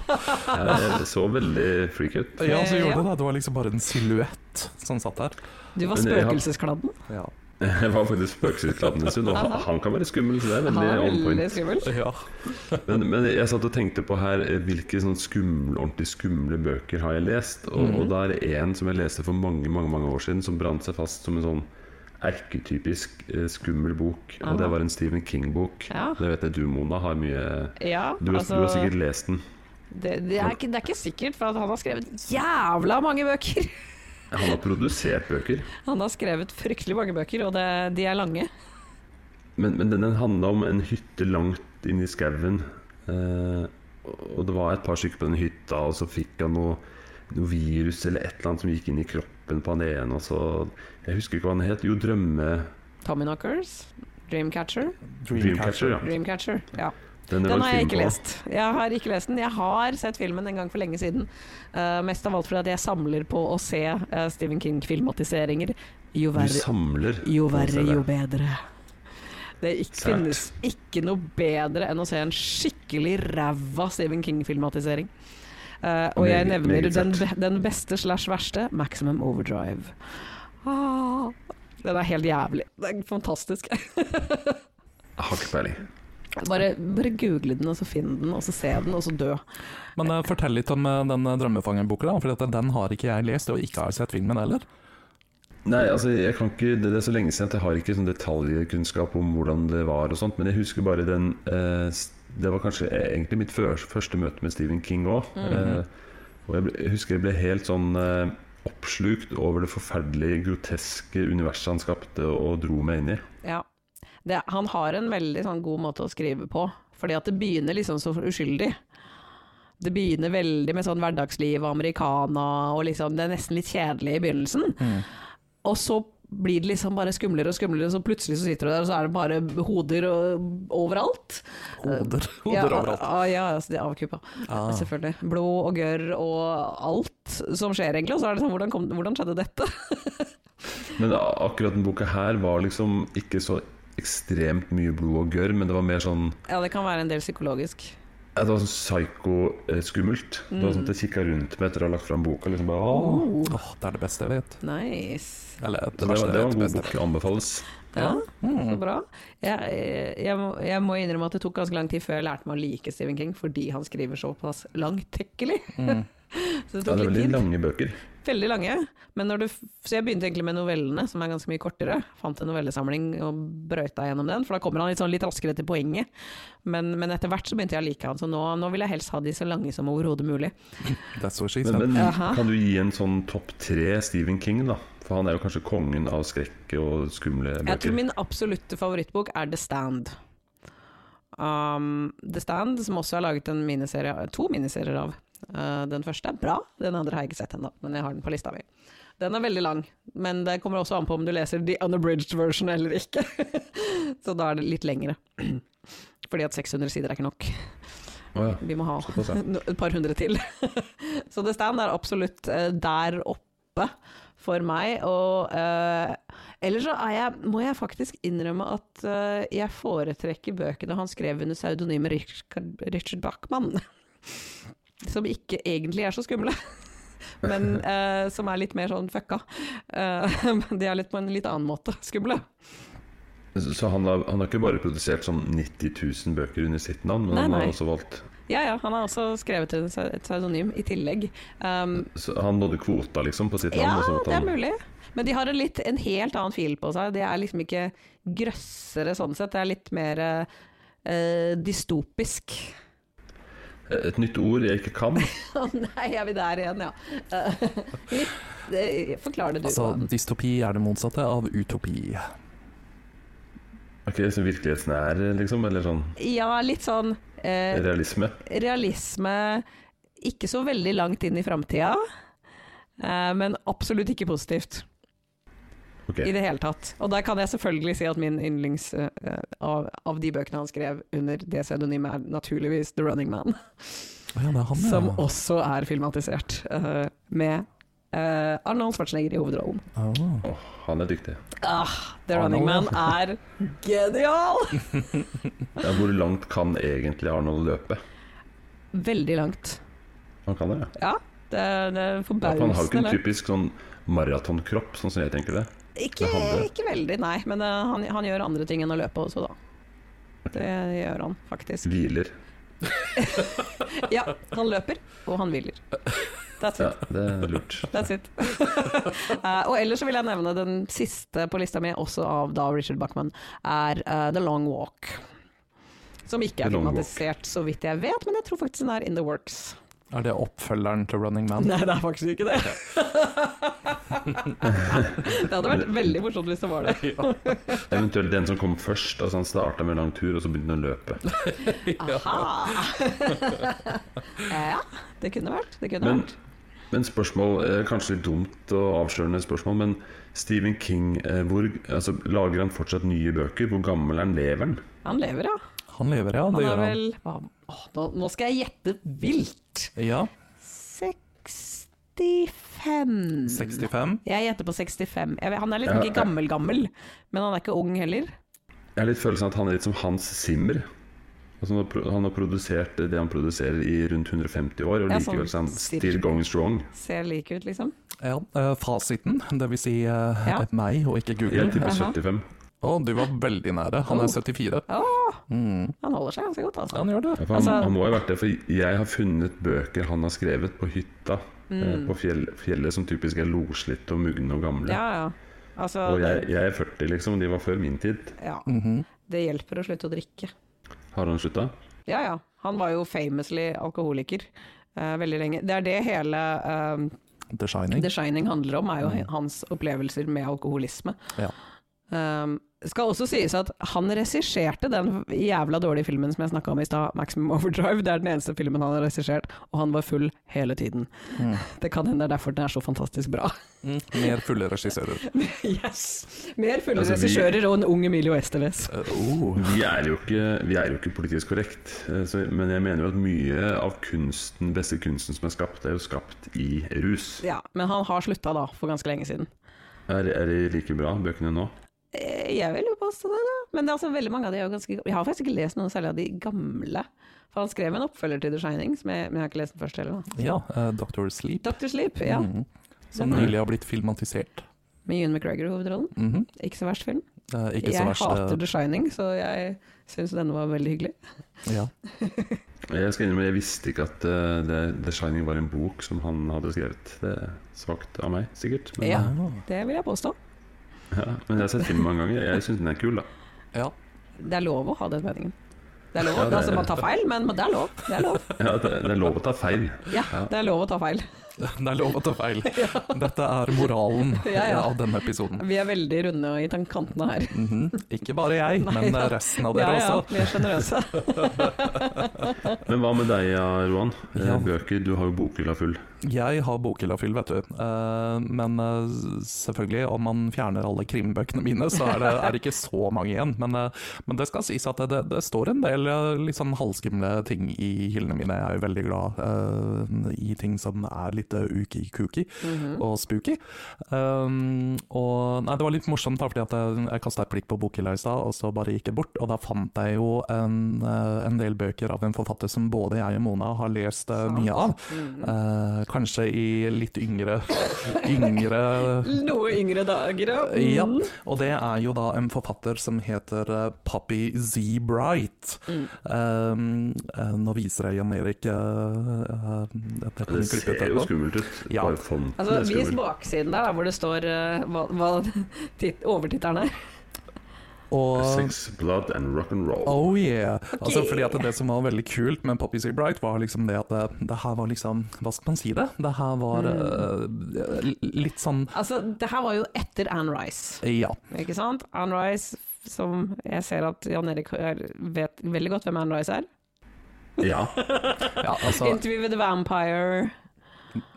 Ja, det så veldig freak ut. Ja, så Ja. gjorde du det. Du var liksom bare en silhuett som satt der. Du var Men jeg har- spøkelseskladden. Ja. Jeg var faktisk spøkelsesklatten en stund, og han- han kan være skummel, så det er veldig Ja, on veldig point. skummel. ja. Men, men jeg satt og tenkte på her eh, hvilke sånn skumle, ordentlig skumle bøker har jeg lest. Og, Mhm. og da er det én som jeg leste for mange mange, mange år siden, som brant seg fast som en sånn erketypisk eh, skummel bok. Og det var en Stephen King-bok. Ja. Det vet jeg du, Mona, har mye Ja, Du har, altså du har sikkert lest den. det, det, er ikke, det er ikke sikkert, for at han har skrevet jævla mange bøker! Han har produsert bøker. Han har skrevet fryktelig mange bøker, og det, de er lange. Men, men den, den handla om en hytte langt inne i skauen. Eh, og det var et par stykker på den hytta, og så fikk han noe, noe virus eller et eller annet som gikk inn i kroppen på han ene. Og så, jeg husker ikke hva han het. Jo, Drømme... Tommyknockers, Dreamcatcher. Dreamcatcher, ja. Dreamcatcher, ja. Den, det var Den et har jeg ikke film på. lest. Jeg har ikke lest den. Jeg har sett filmen en gang for lenge siden. Eh, mest av alt fordi at jeg samler på å se eh, Stephen King-filmatiseringer. Jo Du verre, samler. jo på å se verre, det. jo bedre. Det ikke, Sært. finnes ikke noe bedre enn å se en skikkelig ræva Stephen King-filmatisering. Eh, og jeg Meget- nevner meget den, sært. be- den beste slash verste, Maximum Overdrive. Ah, den er helt jævlig. Den er fantastisk. Jeg har ikke peiling. Bare, bare google den, og så finn den, og så se den, og så dø. Men eh, fortell litt om eh, den eh, drømmefangerboka, da, for at den har ikke jeg lest, og ikke har sett filmen heller. Nei, altså jeg kan ikke, det det er så lenge siden at jeg har ikke sånn detaljkunnskap om hvordan det var og sånt, men jeg husker bare den eh, s- Det var kanskje eh, egentlig mitt før, første møte med Stephen King òg. Eh, og jeg, ble, jeg husker jeg ble helt sånn eh, oppslukt over det forferdelige, groteske universet han skapte og dro meg inn i. Ja. Det, han har en veldig sånn, god måte å skrive på, fordi at det begynner liksom så uskyldig. Det begynner veldig med sånn Mm. hverdagsliv og americana, og liksom, det er nesten litt kjedelig i begynnelsen. Og så blir det liksom bare skumlere og skumlere, så plutselig så sitter du der, og så er det bare hoder og, overalt. Hoder, Ja, hoder overalt. ah, Ja, altså, det er avkuppa. Ah. Selvfølgelig. Blod og gørr og alt som skjer, egentlig. Og så er det sånn, hvordan, kom, hvordan skjedde dette? Men a- akkurat den boka her var liksom ikke så ekstremt mye blod og gørr, men det var mer sånn Ja, det kan være en del psykologisk. ja, Det var sånn psyko-skummelt. Det var sånn at jeg kikka rundt meg etter å ha lagt fram boka. Liksom bare, «Åh». Oh, Åh, det er det beste jeg vet. nice. Eller det, Så det, verste var, det var jeg vet, en god beste jeg bok. Anbefales. Ja, så vet. Mm. bra. Jeg, jeg, jeg må- jeg må innrømme at det tok ganske lang tid før jeg lærte meg å like Stephen King, fordi han skriver såpass langtekkelig. Mm. Ja, Så det det er tok litt veldig tid. lange bøker. Veldig lange. Men når du, f- så jeg begynte egentlig med novellene, som er ganske mye kortere. Fant en novellesamling og brøyta gjennom den, for da kommer han litt, sånn litt raskere til poenget. Men, men etter hvert så begynte jeg å like han, så nå, nå vil jeg helst ha de så lange som overhodet mulig. That's what she Men, said. men Jaha. kan du gi en sånn topp tre Stephen King, da? For han er jo kanskje kongen av skrekk og skumle Jeg eh, bøker. tror min absolutte favorittbok er The Stand. Um, The Stand, som også har laget en miniserie, to miniserier av. Uh, den første er bra, den andre har jeg ikke sett ennå, men jeg har den på lista mi. Den er veldig lang, men det kommer også an på om du leser The Unabridged version eller ikke. Så da er det litt lengre. Fordi at 600 sider er ikke nok. Å ja. Vi må ha Såpass, ja. no- et par hundre til. så The Stand er absolutt eh, der oppe for meg. Og eh, ellers så er jeg, må jeg faktisk innrømme at eh, jeg foretrekker bøkene han skrev under pseudonymet Richard, Richard Bachmann. Som ikke egentlig er så skumle. Men eh, som er litt mer sånn fucka. Eh, Men de er litt på en litt annen måte skumle. Så så han har, han har ikke bare produsert sånn 90 000 bøker under sitt navn, men Nei, han nei. har også valgt Ja ja, han har også skrevet et et pseudonym i tillegg. Um, så Han nådde kvota, liksom, på sitt Ja, navn. og så måtte det er han- mulig. Men de har en, litt, en helt annen fil på seg. Det er liksom ikke grøssere sånn sett. Det er litt mer eh, dystopisk. Et nytt ord jeg ikke kan. Å nei, er vi der igjen, ja. Eh, litt, eh, forklar det du. Altså, Johan. dystopi er det motsatte av utopi. Ok, så Virkelighetsnær, sånn liksom? Eller sånn ja, litt sånn eh, realisme? realisme ikke så veldig langt inn i framtida. eh, men absolutt ikke positivt Ok. i det hele tatt. Og der kan jeg selvfølgelig si at min yndlings eh, eh, av, av de bøkene han skrev under det pseudonymet, er naturligvis The Running Man. Å ja, det er han, ja. som også er filmatisert, eh, med eh, Arnold Schwarzenegger i hovedrollen. Ah. Åh, han er dyktig. Ah, The Running Man er genial! Ja, hvor langt kan egentlig Arnold løpe? Veldig langt. Han kan det, ja. Ja, det, det er ja for han har jo ikke forbausende en langt. typisk sånn maratonkropp, sånn som jeg tenker det. Ikke, det handler. ikke veldig, nei. Men eh, han, han gjør andre ting enn å løpe også, da. Det gjør han faktisk. Hviler. Ja, han løper, og han hviler. That's Ja, it. det er lurt. That's it. Eh, og ellers så vil jeg nevne den siste på lista mi, også av da Richard Bachman, er eh, The Long Walk. Som ikke The er Long Walk. filmatisert, så vidt jeg vet, men jeg tror faktisk den er in the works. Er det oppfølgeren til Running Man? Nei, det er faktisk ikke det. det hadde vært veldig morsomt hvis det var det. Eventuelt den som kom først. Altså Han starta med en lang tur, og så begynte han å løpe. Aha. ja, det kunne vært. Det kunne Men, vært. men spørsmål eh, Kanskje litt dumt og avslørende spørsmål, men Stephen King, eh, hvor, altså, lager han fortsatt nye bøker? Hvor gammel er han? Lever han? Han lever, ja. Han lever, ja. Det Han har gjør han. vel hva- Åh, nå, nå skal jeg gjette vilt. Ja, 65. 65. Jeg gjetter på 65. Jeg vet, han er litt Ja, ikke ja. gammel-gammel, men han er ikke ung heller. Jeg har litt følelsen av at han er litt som Hans Zimmer. Altså, han har pro- han har produsert det han produserer i rundt 150 år, og Ja, likevel så er han sånn still cirka. going strong. Ser lik ut, liksom. Ja, eh, fasiten, det vil si eh, Ja. meg og ikke Google. Jeg tipper Aha. 75. Å, du var veldig nære. Han Oh. er 74. Åh, Mm. han holder seg ganske godt, Ja, altså. han gjør det. Ja, for han, Altså- han må jo ha vært det, for jeg har funnet bøker han har skrevet på hytta eh, på fjell, fjellet, som typisk er loslitte og mugne og gamle. Mm. Ja, ja. Altså, Og jeg, det, jeg er 40, liksom. De var før min tid. ja. Mhm. det hjelper å slutte å drikke. Har han slutta? Ja, ja. Han var jo famously alkoholiker eh, veldig lenge. Det er det hele eh, The Shining. Mm. The Shining handler om, er jo hans opplevelser med alkoholisme. Ja. Um, skal også sies at han regisserte den jævla dårlige filmen som jeg snakka om i stad, 'Maximum Overdrive'. Det er den eneste filmen han har regissert, og han var full hele tiden. Mm. Det kan hende det er derfor den er så fantastisk bra. Mm. Mer fulle regissører. yes! Mer fulle Altså, vi- regissører og en ung Emilio Esteves. Eh, oh. Vi er jo ikke, vi er jo ikke politisk korrekt, eh, så, men jeg mener jo at mye av kunsten, beste kunsten som er skapt, er jo skapt i rus. Ja, men han har slutta da, for ganske lenge siden. Er, er de like bra, bøkene nå? Eh, Jeg vil jo påstå det, da. Men det er altså veldig mange av de er jo ganske Jeg har faktisk ikke lest noen særlig av de gamle. For han skrev en oppfølger til The Shining, som jeg, men jeg har ikke lest den første heller. da. Ja, eh, Dr. Sleep, Dr. Sleep, ja. Mhm. som Den- nylig har blitt filmatisert. Med Ewan McGregor i hovedrollen. Mhm. Ikke så verst film. Eh, ikke så jeg verst. hater eh, The Shining, så jeg syns denne var veldig hyggelig. Ja. Jeg skal innrømme, jeg visste ikke at eh, det, The Shining var en bok som han hadde skrevet. Det er svakt av meg, sikkert. Men, Ja. Ah, Det vil jeg påstå. ja, men jeg har sett filmen mange ganger. Jeg syns den er kul, da. ja. Det er lov å ha den meningen. Det er lov. Ja, det er- altså, man tar feil, men det er lov. Det er lov, Ja, det, det er lov å ta feil. ja, det er lov å ta feil. Det er lov å ta feil. Dette er moralen Ja, ja. av denne episoden. Vi er veldig runde og i den kantene her. Mhm. Ikke bare jeg, Nei, men da. eh, resten av Ja, dere ja, også. vi er sjenerøse. Men hva med deg, ja, Roan? Eh, Ja. Bøker, du har jo bokhylla full. Jeg har bokhylla full, vet du. Eh, men eh, selvfølgelig, om man fjerner alle krimbøkene mine, så er det, er det ikke så mange igjen. Men, eh, men det skal sies at det, det står en del eh, litt sånn halvskumle ting i hyllene mine. Jeg er jo veldig glad eh, i ting som er litt eh, uki-kuki og spooky. Um, og nei, det var litt morsomt, da, fordi at jeg, jeg kasta et blikk på bokhylla i stad, og så bare gikk jeg bort. Og da fant jeg jo en, eh, en del bøker av en forfatter som både jeg og Mona har lest eh, mye av. Eh, kanskje i litt yngre Yngre Noe yngre dager, ja, Mm. og det er jo da en forfatter som heter eh, Poppy Z. Bright. Mm. Um, eh, nå viser jeg Jan Erik eh, eh, dette Det kommer klippet ser jo etterpå. skummelt ut. Ja. Bare fonten Altså, er Vis skummel. baksiden der, da, hvor det står eh, hva, hva tit- overtittelen er. Og Sex, blood and rock and roll. Oh yeah. Altså, Ok. fordi at det som var veldig kult med Poppy Sea Bright, var liksom det at det, det her var liksom Hva skal man si det? Det her var Mm. eh, litt sånn eh, Altså, det her var jo etter Anne Rice, Ja. ikke sant? Anne Rice, som jeg ser at Jan Erik er- vet veldig godt hvem Anne Rice er. Ja. ja altså Interview with the Vampire.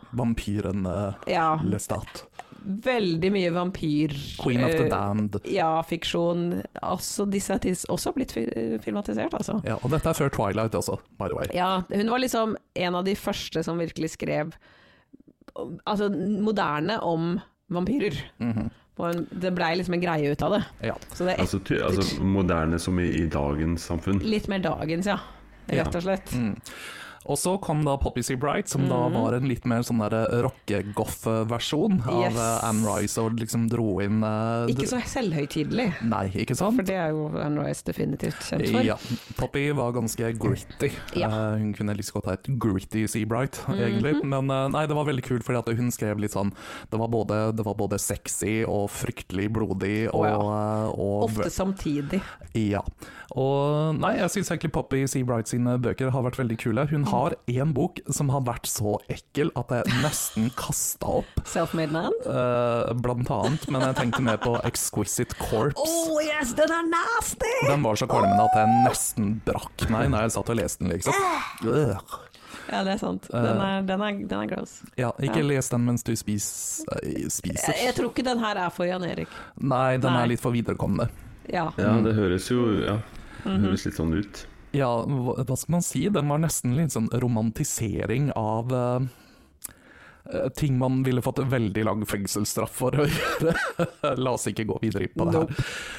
Vampyren eh, Ja, Lestat. veldig mye vampyr. Queen of the eh, Damned. Ja, fiksjon. Altså, disse er tids- også blitt fi- filmatisert, altså. Ja, og dette er før Twilight også, by the way. Ja, hun var liksom en av de første som virkelig skrev altså, moderne om vampyrer. Mhm. Og en- Det blei liksom en greie ut av det. Ja. Så det er et, Altså, ty, altså moderne som i, i dagens samfunn. litt mer dagens, ja. Rett og slett. Mm, Og så kom da Poppy Sea Bright, som Mm. da var en litt mer sånn der rockegoff-versjon av Yes. eh, Anne Rice, og liksom dro inn eh, Ikke så selvhøytidelig, Nei, ikke sant? for det er jo Anne Rice definitivt kjent for. Ja, Poppy var ganske gritty. Ja. Mhm. Eh, hun kunne like så godt ha et gritty Seabright, egentlig. Men eh, nei, det var veldig kult, fordi at hun skrev litt sånn Det var både, det var både sexy og fryktelig blodig Å og, ja. eh, og Ofte samtidig. ja. Og nei, jeg syns egentlig Poppy C. Bright sine bøker har vært veldig Mm. kule. Hun har én bok som har vært så ekkel at jeg nesten kasta opp, Self-made man. eh, blant annet. Men jeg tenkte mer på Exquisite Corps. Oh yes, den er nasty! Den var så kvalmende at jeg nesten brakk meg når jeg satt og leste den, liksom. Ah! Øh. Ja, det er sant. Den er, den er, den er gross. Ja, ikke les den mens du spis, eh, Jeg, jeg spiser. tror ikke den her er for Jan Erik. Nei, den Nei. er litt for viderekommende. Ja. Ja, Mm. det høres jo ja. Mhm. Det høres litt sånn ut. Ja, hva hva skal man si? Den var nesten litt sånn romantisering av eh, eh, ting man ville fått veldig lang fengselsstraff for å gjøre. La oss ikke gå videre på det her. Nope.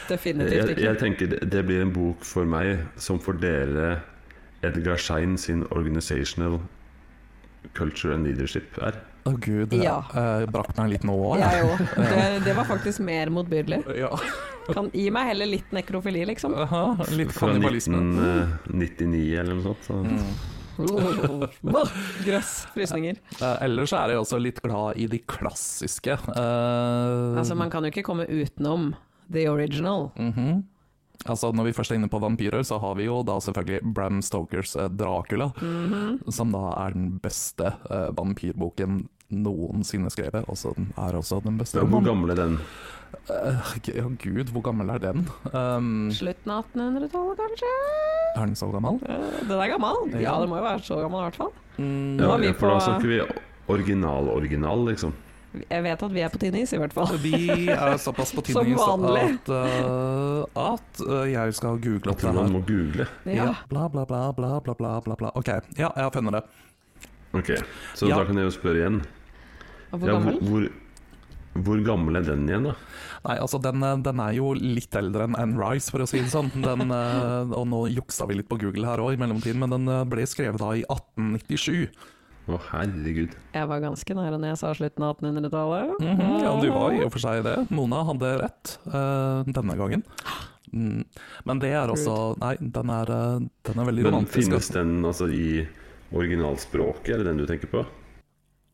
Definitivt Jeg, ikke. jeg tenker det- det blir en bok for meg som for dere Edgar Schein sin 'Organizational Culture and Leadership' er. Å gud, jeg Ja. eh, brakk meg litt nå òg. Jeg òg. Det, det var faktisk mer motbydelig. Ja. Kan gi meg heller litt nekrofili, liksom. Aha, litt Fra kannibalisme. Mm. 1999 eller noe sånt. Så. Grøss frysninger. Eh, ellers er jeg også litt glad i de klassiske. eh, Altså, man kan jo ikke komme utenom the original. mhm. altså Når vi først er inne på vampyrer, så har vi jo da selvfølgelig Mhm. Bram Stokers eh, Dracula. Som da er den beste eh, vampyrboken noensinne skrevet, og så den er også den beste. Ja, hvor romanen. gammel er den? Eh, ja, gud, hvor gammel er den? Um, Mm. Slutten av 1800-tallet, kanskje? er den så gammel? Eh, Den er gammel. Ja, Ja. den må jo være så gammel, i hvert fall. Mm, Nå Ja, er vi ja, for da på- snakker vi original-original, liksom. Jeg vet at vi er på tynn is, i hvert fall. Vi er såpass på Som tynn is vanlig. at, eh, at eh, jeg skal google Jeg opp det tror man her. må google. Ja. Bla, bla, bla, bla, bla, bla, bla, bla. OK, ja, jeg finner det. Ok, Så Ja. da kan jeg jo spørre igjen. Og hvor Ja, hvor, gammel? hvor, hvor gammel er den igjen, da? Nei, altså, den, eh, den er jo litt eldre enn Anne Rice, for å si det sånn. Den, eh, og nå juksa vi litt på Google her òg i mellomtiden, men den eh, ble skrevet da i 1897. Å, herregud. Jeg var ganske nære når jeg sa slutten av 1800-tallet. Mhm, ja, du var i og for seg det. Mona hadde rett eh, denne gangen. Mm. Men det er også Nei, den er, eh, den er veldig Men romantisk. finnes altså. den altså i originalspråket, er det den du tenker på?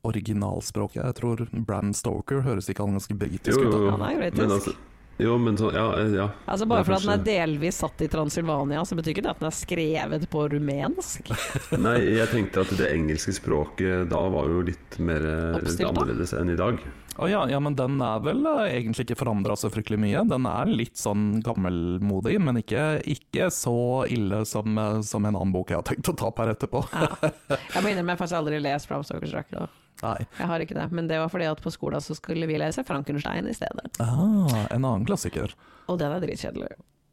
Originalspråket. Jeg tror Bram Stoker høres ikke han ganske britisk Jo, ut? da? jo, jo. Han er jo britisk. Men altså, jo, men sånn Ja, eh, ja. Altså Bare Det er for at den er kanskje- delvis satt i Transilvania, så betyr ikke det at den er skrevet på rumensk. Nei, jeg tenkte at det engelske språket da var jo litt mer eh, Oppstilt, da. annerledes enn i dag. Å ja, ja, men den er vel eh, egentlig ikke forandra så fryktelig mye. Den er litt sånn gammelmodig, men ikke, ikke så ille som, eh, som en annen bok jeg har tenkt å ta opp her etterpå. Jeg må innrømme jeg har faktisk aldri lest Bram Stokers Dracula. Nei. Jeg har ikke det, men det var fordi at på skolen så skulle vi lese Frankenstein i stedet. Ah, en annen klassiker. Og den er dritkjedelig.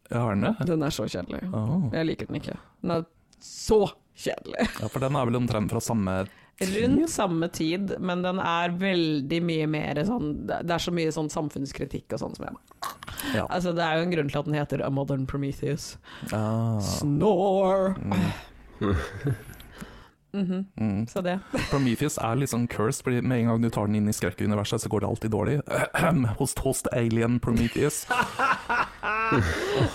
Ja, er den det? Den er så kjedelig. Ah. Jeg liker den ikke. Den er så kjedelig. Ja, for den er vel omtrent fra samme Rundt samme tid, men den er veldig mye mer sånn Det er så mye sånn samfunnskritikk og sånn som jeg Ja. Altså, det er jo en grunn til at den heter A Modern Prometheus. Ah. Snore! Mhm. Mm. Så det. Prometheus er litt sånn cursed, fordi med en gang du tar den inn i skrekkuniverset, så går det alltid dårlig. Host host alien Prometheus.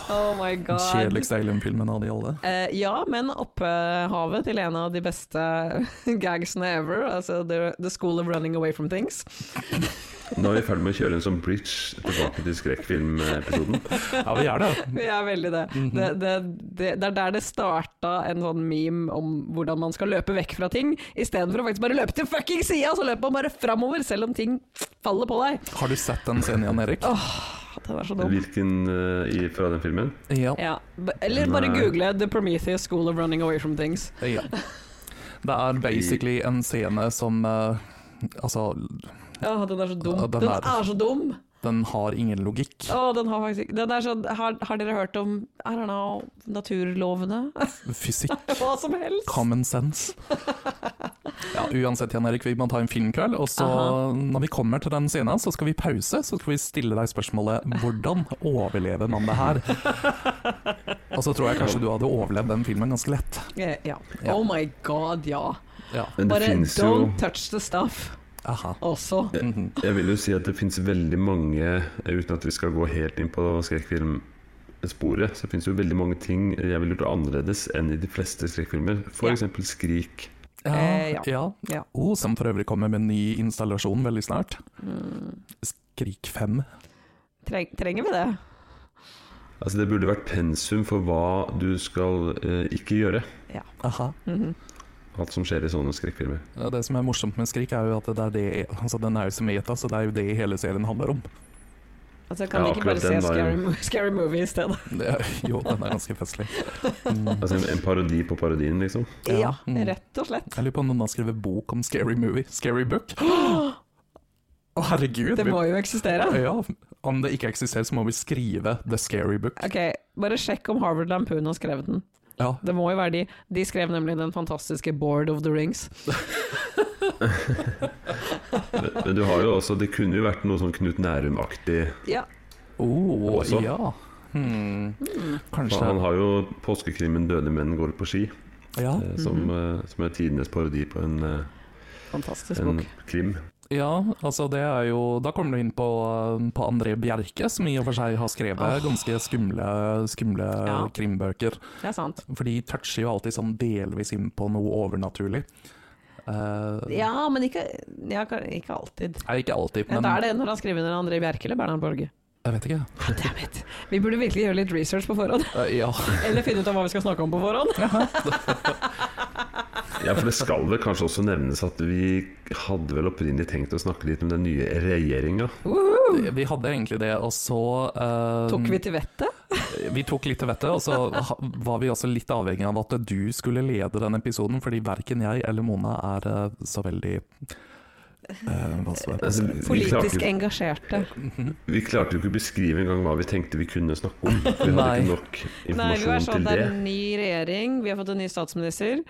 Oh my god. Kjedeligste alien-filmen av de alle. Eh, ja, men Oppehavet til en av de beste gagsene ever. Altså the, the School of Running Away From Things. Nå er vi i ferd med å kjøre en sånn bridge tilbake til skrekkfilmepisoden. Ja, vi er det. Vi er veldig det. Mhm. det, det, det. Det er der det starta en sånn meme om hvordan man skal løpe vekk fra ting, istedenfor å faktisk bare løpe til fucking sida, så løper man bare framover selv om ting faller på deg. Har du sett den scenen, Jan Erik? Den er så dum. Hvilken eh, i, fra den filmen? Ja. Ja. b- Eller bare Nei. google 'The Prometheus School of Running Away From Things'. Ja. Det er basically en scene som eh, Altså, Åh, den er så dum. Ja, den, den er... er- så dum! den har ingen logikk. Åh, den har faktisk ikke den er sånn, har, har dere hørt om I don't know, naturlovene? Fysikk. Hva som helst! Common sense. Ja, uansett, Jan Erik, vi må ta en filmkveld. Og så, Aha. når vi kommer til den scenen, så skal vi pause. Så skal vi stille deg spørsmålet hvordan overlever man det her? Og så tror jeg kanskje du hadde overlevd den filmen ganske lett. Eh, Ja. Ja. Oh my god, ja. Ja. Men det Bare finnes jo don't touch the stuff Aha. også. Mhm. Jeg vil jo si at det finnes veldig mange, eh, uten at vi skal gå helt inn på skrekkfilmsporet, så finnes jo veldig mange ting jeg ville gjort annerledes enn i de fleste skrekkfilmer. Ja. F.eks. Skrik. Eh, Ja, ja. ja. Ja. Oh, som for øvrig kommer med en ny installasjon veldig snart. Mm. Skrik 5. Treng, trenger vi det? Altså Det burde vært pensum for hva du skal eh, ikke gjøre. Aha. Mhm. Alt som skjer i sånne skrekkfilmer. Ja, Det som er morsomt med Skrik, er jo at det er det, altså den er jo som ETA, så det er jo det hele serien handler om. Altså, kan Ja, vi ikke bare akkurat den se var jo- scary, Mo- scary Movie i stedet? Det er, jo, den er ganske festlig. Mm. Altså En, en parodi på parodien, liksom. Ja. Ja, Mm. rett og slett. Jeg lurer på om noen har skrevet bok om Scary Movie. Scary Book. Å, herregud! Det vi- må jo eksistere. ja, om det ikke eksisterer, så må vi skrive The Scary Book. Ok, bare sjekk om Harvard Lampoon har skrevet den. Ja, Det må jo være de. De skrev nemlig den fantastiske Board of the Rings. Men men du har jo også Det kunne jo vært noe sånn Knut Nærum-aktig. Ja, oh, Også. ja. Hmm. Mm. For Han Kanskje har jo påskekrimmen 'Døde menn går på ski', ja. eh, som, eh, som er tidenes parodi på en, eh, fantastisk en bok. krim. ja, altså det er jo Da kommer du inn på, eh, på André Bjerke, som i og for seg har skrevet Åh. ganske skumle, skumle Ja. krimbøker. Det er sant. For de toucher jo alltid sånn delvis inn på noe overnaturlig. Eh, Ja, men ikke, ja, ka- ikke alltid. Nei, ikke alltid, Ja, men da er det når han skriver under André Bjerke eller Bernhard Borge. Jeg vet ikke. Dammit. Vi burde virkelig gjøre litt research på forhånd. Eh, ja. Eller finne ut av hva vi skal snakke om på forhånd. Ja, for det skal vel kanskje også nevnes at vi hadde vel opprinnelig tenkt å snakke litt om den nye regjeringa. Eh, Vi hadde egentlig det, og så eh, Tok sånn- vi til vettet? Vi tok litt til vettet, og så ha- var vi også litt avhengig av at du skulle lede den episoden, fordi verken jeg eller Mona er eh, så veldig eh, hva skal jeg Altså, vi, klarte Politisk jo- engasjerte. vi klarte jo ikke å beskrive engang hva vi tenkte vi kunne snakke om. Vi hadde Nei. ikke nok Nei, vi informasjon er sånn, til det er det. en ny regjering, vi har fått en ny statsminister.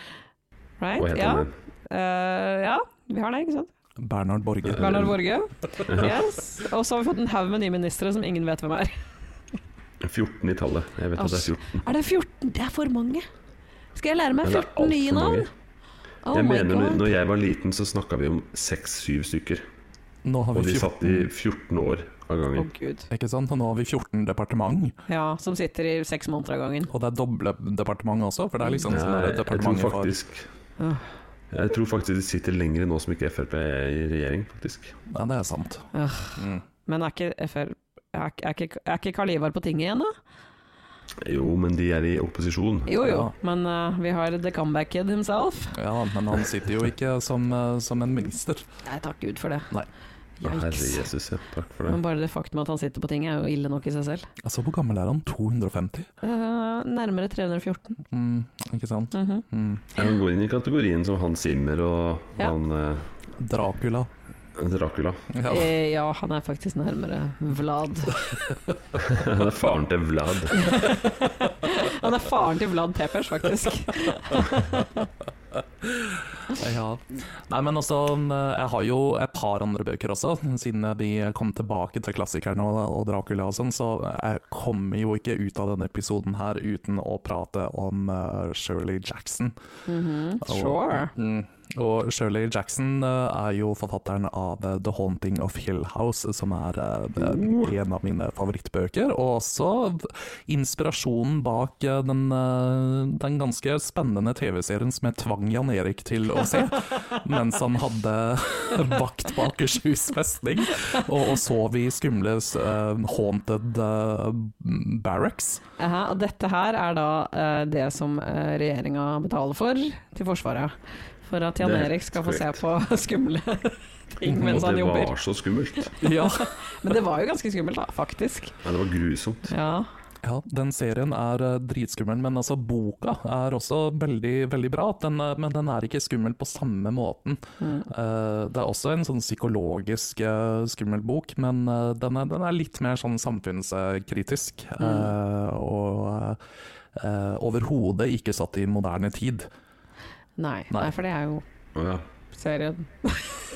Right? Hva heter ja. han igjen? Eh, ja, vi har det, ikke sant? Bernhard Borge. Eh. Bernhard Borge. Yes. Og så har vi fått en haug med nye ministre som ingen vet hvem er. 14 i tallet. Jeg vet at det er 14. Er det 14? Det er for mange. Skal jeg lære meg Men det er 14 nye altfor mange. navn? Oh Jeg my mener, når- God. når jeg var liten, så snakka vi om 6-7 stykker. Nå har Og vi de 14, satt i 14 år av Å gangen. gud. ikke sant? Og nå har vi 14 departement, Ja, som sitter i seks måneder av gangen. og det er doble departement også, for det er liksom sånn Jeg, at jeg tror departementet får faktisk Jeg tror faktisk de sitter lenger nå som ikke Frp er i regjering, faktisk. Ja, det er sant. Mm. Men er ikke FR... Er ikke- er ikke er ikke Karl Ivar på tinget igjen, da? Jo, men de er i opposisjon. Jo jo, Ja. men eh, vi har the comeback kid himself. Ja, men han sitter jo ikke som, eh, som en minister. Nei, takk Gud for det. Nei. Å, Herre Yikes. Jesus, ja. Takk for det. Men bare det faktum at han sitter på tinget er jo ille nok i seg selv. Altså, hvor gammel er han? 250? Eh, nærmere 314. Mm, ikke sant? Mhm. Mm. Han går inn i kategorien som Hans Zimmer og Ja. han eh, Dracula. Dracula. Ja. Eh, ja, han er faktisk nærmere Vlad. Han er faren til Vlad. Han er faren til Vlad Pepers, faktisk. ja. Nei, men også, eh, jeg har jo et par andre bøker også, siden vi kom tilbake til klassikerne og, og Dracula og sånn, så jeg kommer jo ikke ut av denne episoden her uten å prate om eh, Shirley Jackson. Mhm, Og- Sure. Mm. Og Shirley Jackson eh, er jo forfatteren av eh, The Haunting of Hill House, som er eh, en av mine favorittbøker, og også inspirasjonen bak eh, den, eh, den ganske spennende TV-serien som jeg tvang Jan Erik til å se, mens han hadde vakt på Akershus festning, og, og sov i skumle eh, haunted eh, barracks. Aha, og dette her er da eh, det som uh, regjeringa betaler for til Forsvaret. For at Jan Det er Erik skal få se korrekt. på skumle ting mens og han det jobber. var så skummelt. Ja, Ja. Men det var jo ganske skummelt, da, faktisk. det var grusomt. Ja. Ja, den serien er eh, dritskummel, men altså boka er også veldig, veldig bra. Den, eh, men den er ikke skummel på samme måten. Mm. Eh, det er også en sånn psykologisk eh, skummel bok, men eh, den, er, den er litt mer sånn samfunnskritisk. eh, og eh, overhodet ikke satt i moderne tid. Nei, Nei. nei, for det er jo Å ja. serien.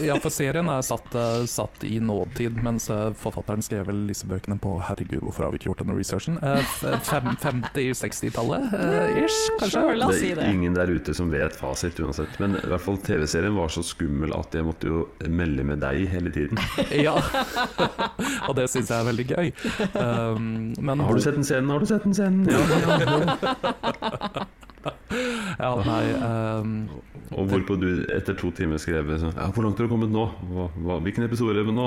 Ja, for serien er satt, eh, satt i nåtid, mens eh, forfatteren skrev vel disse bøkene på Herregud, hvorfor har vi ikke gjort denne researchen? Eh, f- fem- 50-60-tallet eh, ish, kanskje? Sure, la oss si Det er det. ingen der ute som vet fasit uansett. Men i hvert fall TV-serien var så skummel at jeg måtte jo melde med deg hele tiden. Ja, og det syns jeg er veldig gøy. Um, men Har du sett den scenen? Har du sett den scenen? Ja, ja. Ja, nei, um, Og hvorpå du etter to timer skrev sånn Ja, hvor langt har du kommet nå? Hva, hva, hvilken episode er det nå?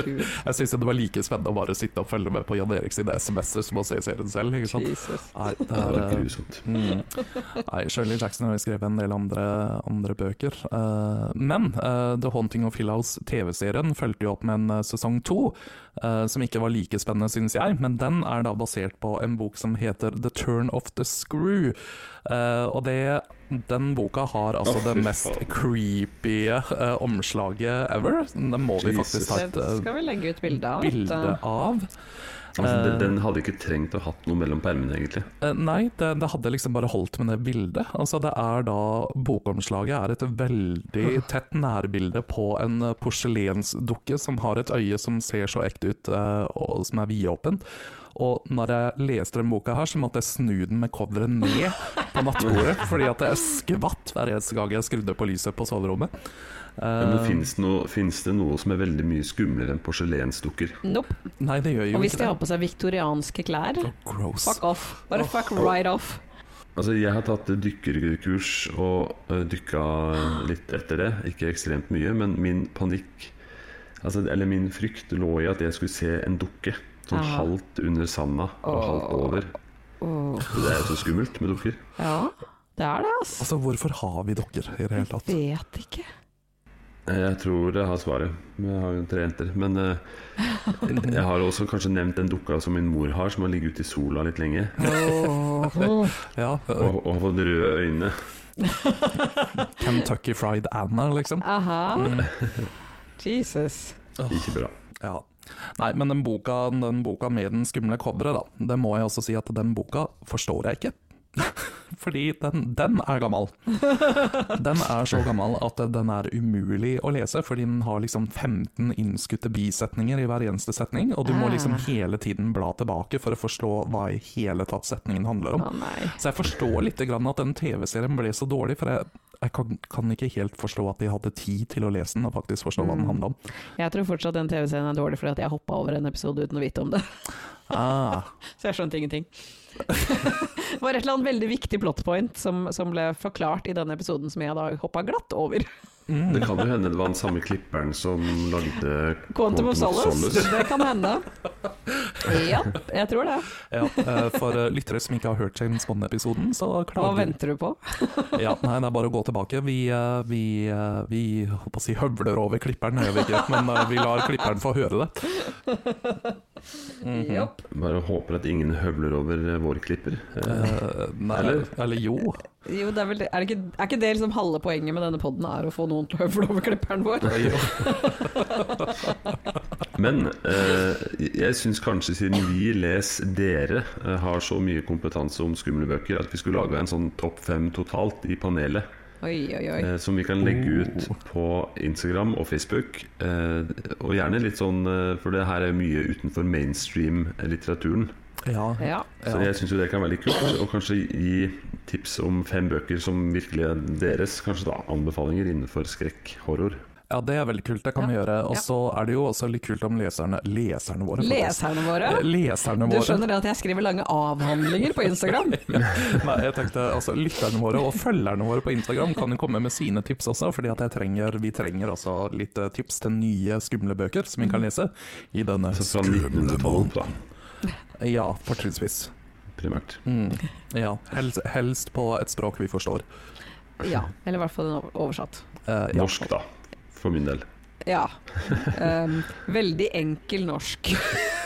Gud, jeg syns det var like spennende å bare sitte og følge med på Jan Erik sine SMS-er som å se serien selv, ikke sant. Jesus. Nei, det Det er, var eh, grusomt. Mm. Nei, Shirley Jackson har jo skrevet en del andre, andre bøker. Eh, men eh, The Haunting of Hill House TV-serien fulgte jo opp med en eh, sesong to, eh, som ikke var like spennende, syns jeg. Men den er da basert på en bok som heter The Turn of the Screw. Eh, og det, den boka har altså Å, fy det mest faen. creepy eh, omslaget ever. Den må vi Jesus. faktisk ha et Det eh, skal vi legge ut bilde av. bilde av. Altså, den, Eh. den hadde ikke trengt å hatt noe mellom permene, egentlig. Eh, Nei, det, det hadde liksom bare holdt med det bildet. Altså det er da Bokomslaget er et veldig tett nærbilde på en eh, porselensdukke som har et øye som ser så ekte ut, eh, og som er vidåpent. Og når jeg leste den boka her, så måtte jeg snu den med coveret uh, ned på nattbordet, fordi at jeg skvatt hver eneste gang jeg skrudde på lyset på soverommet. Men Eh, finnes det, noe, finnes det noe som er veldig mye skumlere enn porselensdukker? Nope. nei, det gjør Og jo hvis ikke de det. har på seg viktorianske klær, Oh, gross. fuck off. Bare fuck right off. Altså, jeg har tatt dykkerkurs og ø, dykka litt etter det. Ikke ekstremt mye, men min panikk altså, Eller min frykt lå i at jeg skulle se en dukke. Sånn Ah. halvt under sanda og halvt Åh. over. Åh. Det er jo så skummelt med dukker. Ja. Det er det, altså. Altså, hvorfor har vi dokker i det hele tatt? Jeg vet ikke. Eh, Jeg tror jeg har svaret. Jeg har jo tre jenter. Men eh, jeg har også kanskje nevnt den dukka som min mor har, som har ligget ute i sola litt lenge. Ja, eh, Og, og har fått røde øyne. Kentucky Fried Anna, liksom. Aha. Jesus. Ikke bra. Ja. Nei, men den boka, den boka med den skumle coveret, da, det må jeg også si at den boka forstår jeg ikke. Fordi den, den er gammel. Den er så gammel at den er umulig å lese, fordi den har liksom 15 innskutte bisetninger i hver eneste setning, og du må liksom hele tiden bla tilbake for å forstå hva i hele tatt setningen handler om. Å nei. Så jeg forstår litt grann at den TV-serien ble så dårlig, for jeg, jeg kan, kan ikke helt forstå at de hadde tid til å lese den og faktisk forstå hva den handla om. Jeg tror fortsatt den TV-serien er dårlig fordi at jeg hoppa over en episode uten å vite om det. Ah, Så jeg skjønte ingenting. det var et eller annet veldig viktig plot point som, som ble forklart i denne episoden som jeg da hoppa glatt over. Det kan jo hende det var den samme klipperen som lagde Quantum of Solace. Det kan hende. Ja, jeg tror det. ja, eh, for eh, lyttere som ikke har hørt James Bond-episoden, så Hva klager venter du på? ja, Nei, det er bare å gå tilbake. Vi, eh, vi, eh, vi holdt på å si høvler over klipperen, gjør vi ikke, men eh, vi lar klipperen få høre det. Mhm. Jopp. Bare håper at ingen høvler over eh, vår klipper. Eh, Eh, nei, eller? Eller? jo. Jo, det er, vel det. Er, det ikke, er ikke det liksom halve poenget med denne podden er å få noen til å høvle over klipperen vår? Eh, jo. Men eh, jeg syns kanskje siden vi, les dere, eh, har så mye kompetanse om skumle bøker, at vi skulle laga en sånn topp fem totalt i panelet. Oi, oi, oi. eh, som vi kan legge ut på Instagram og Facebook. Eh, og gjerne litt sånn, eh, for det her er mye utenfor mainstream-litteraturen. Ja. ja. Ja. Så jeg syns jo det kan være litt kult. Og kanskje gi tips om fem bøker som virkelig er deres. Kanskje da anbefalinger innenfor skrekk, horror. Ja, det er veldig kult, det kan vi Ja, gjøre. Og ja. så er det jo også litt kult om leserne Leserne våre, faktisk. Leserne våre. Eh, Leserne Du våre. skjønner at jeg skriver lange avhandlinger på Instagram? Nei, jeg tenkte altså lytterne våre og følgerne våre på Instagram kan jo komme med sine tips også, fordi at jeg trenger, vi trenger også litt eh, tips til nye skumle bøker som vi kan lese i denne Altså fra 1912, da, Ja, fortrinnsvis. primært. Mm. Ja, helst, helst på et språk vi forstår. Ja. Eller i hvert fall en oversatt. Eh, ja. Norsk, da. For min del. Ja. Ehm, veldig enkel norsk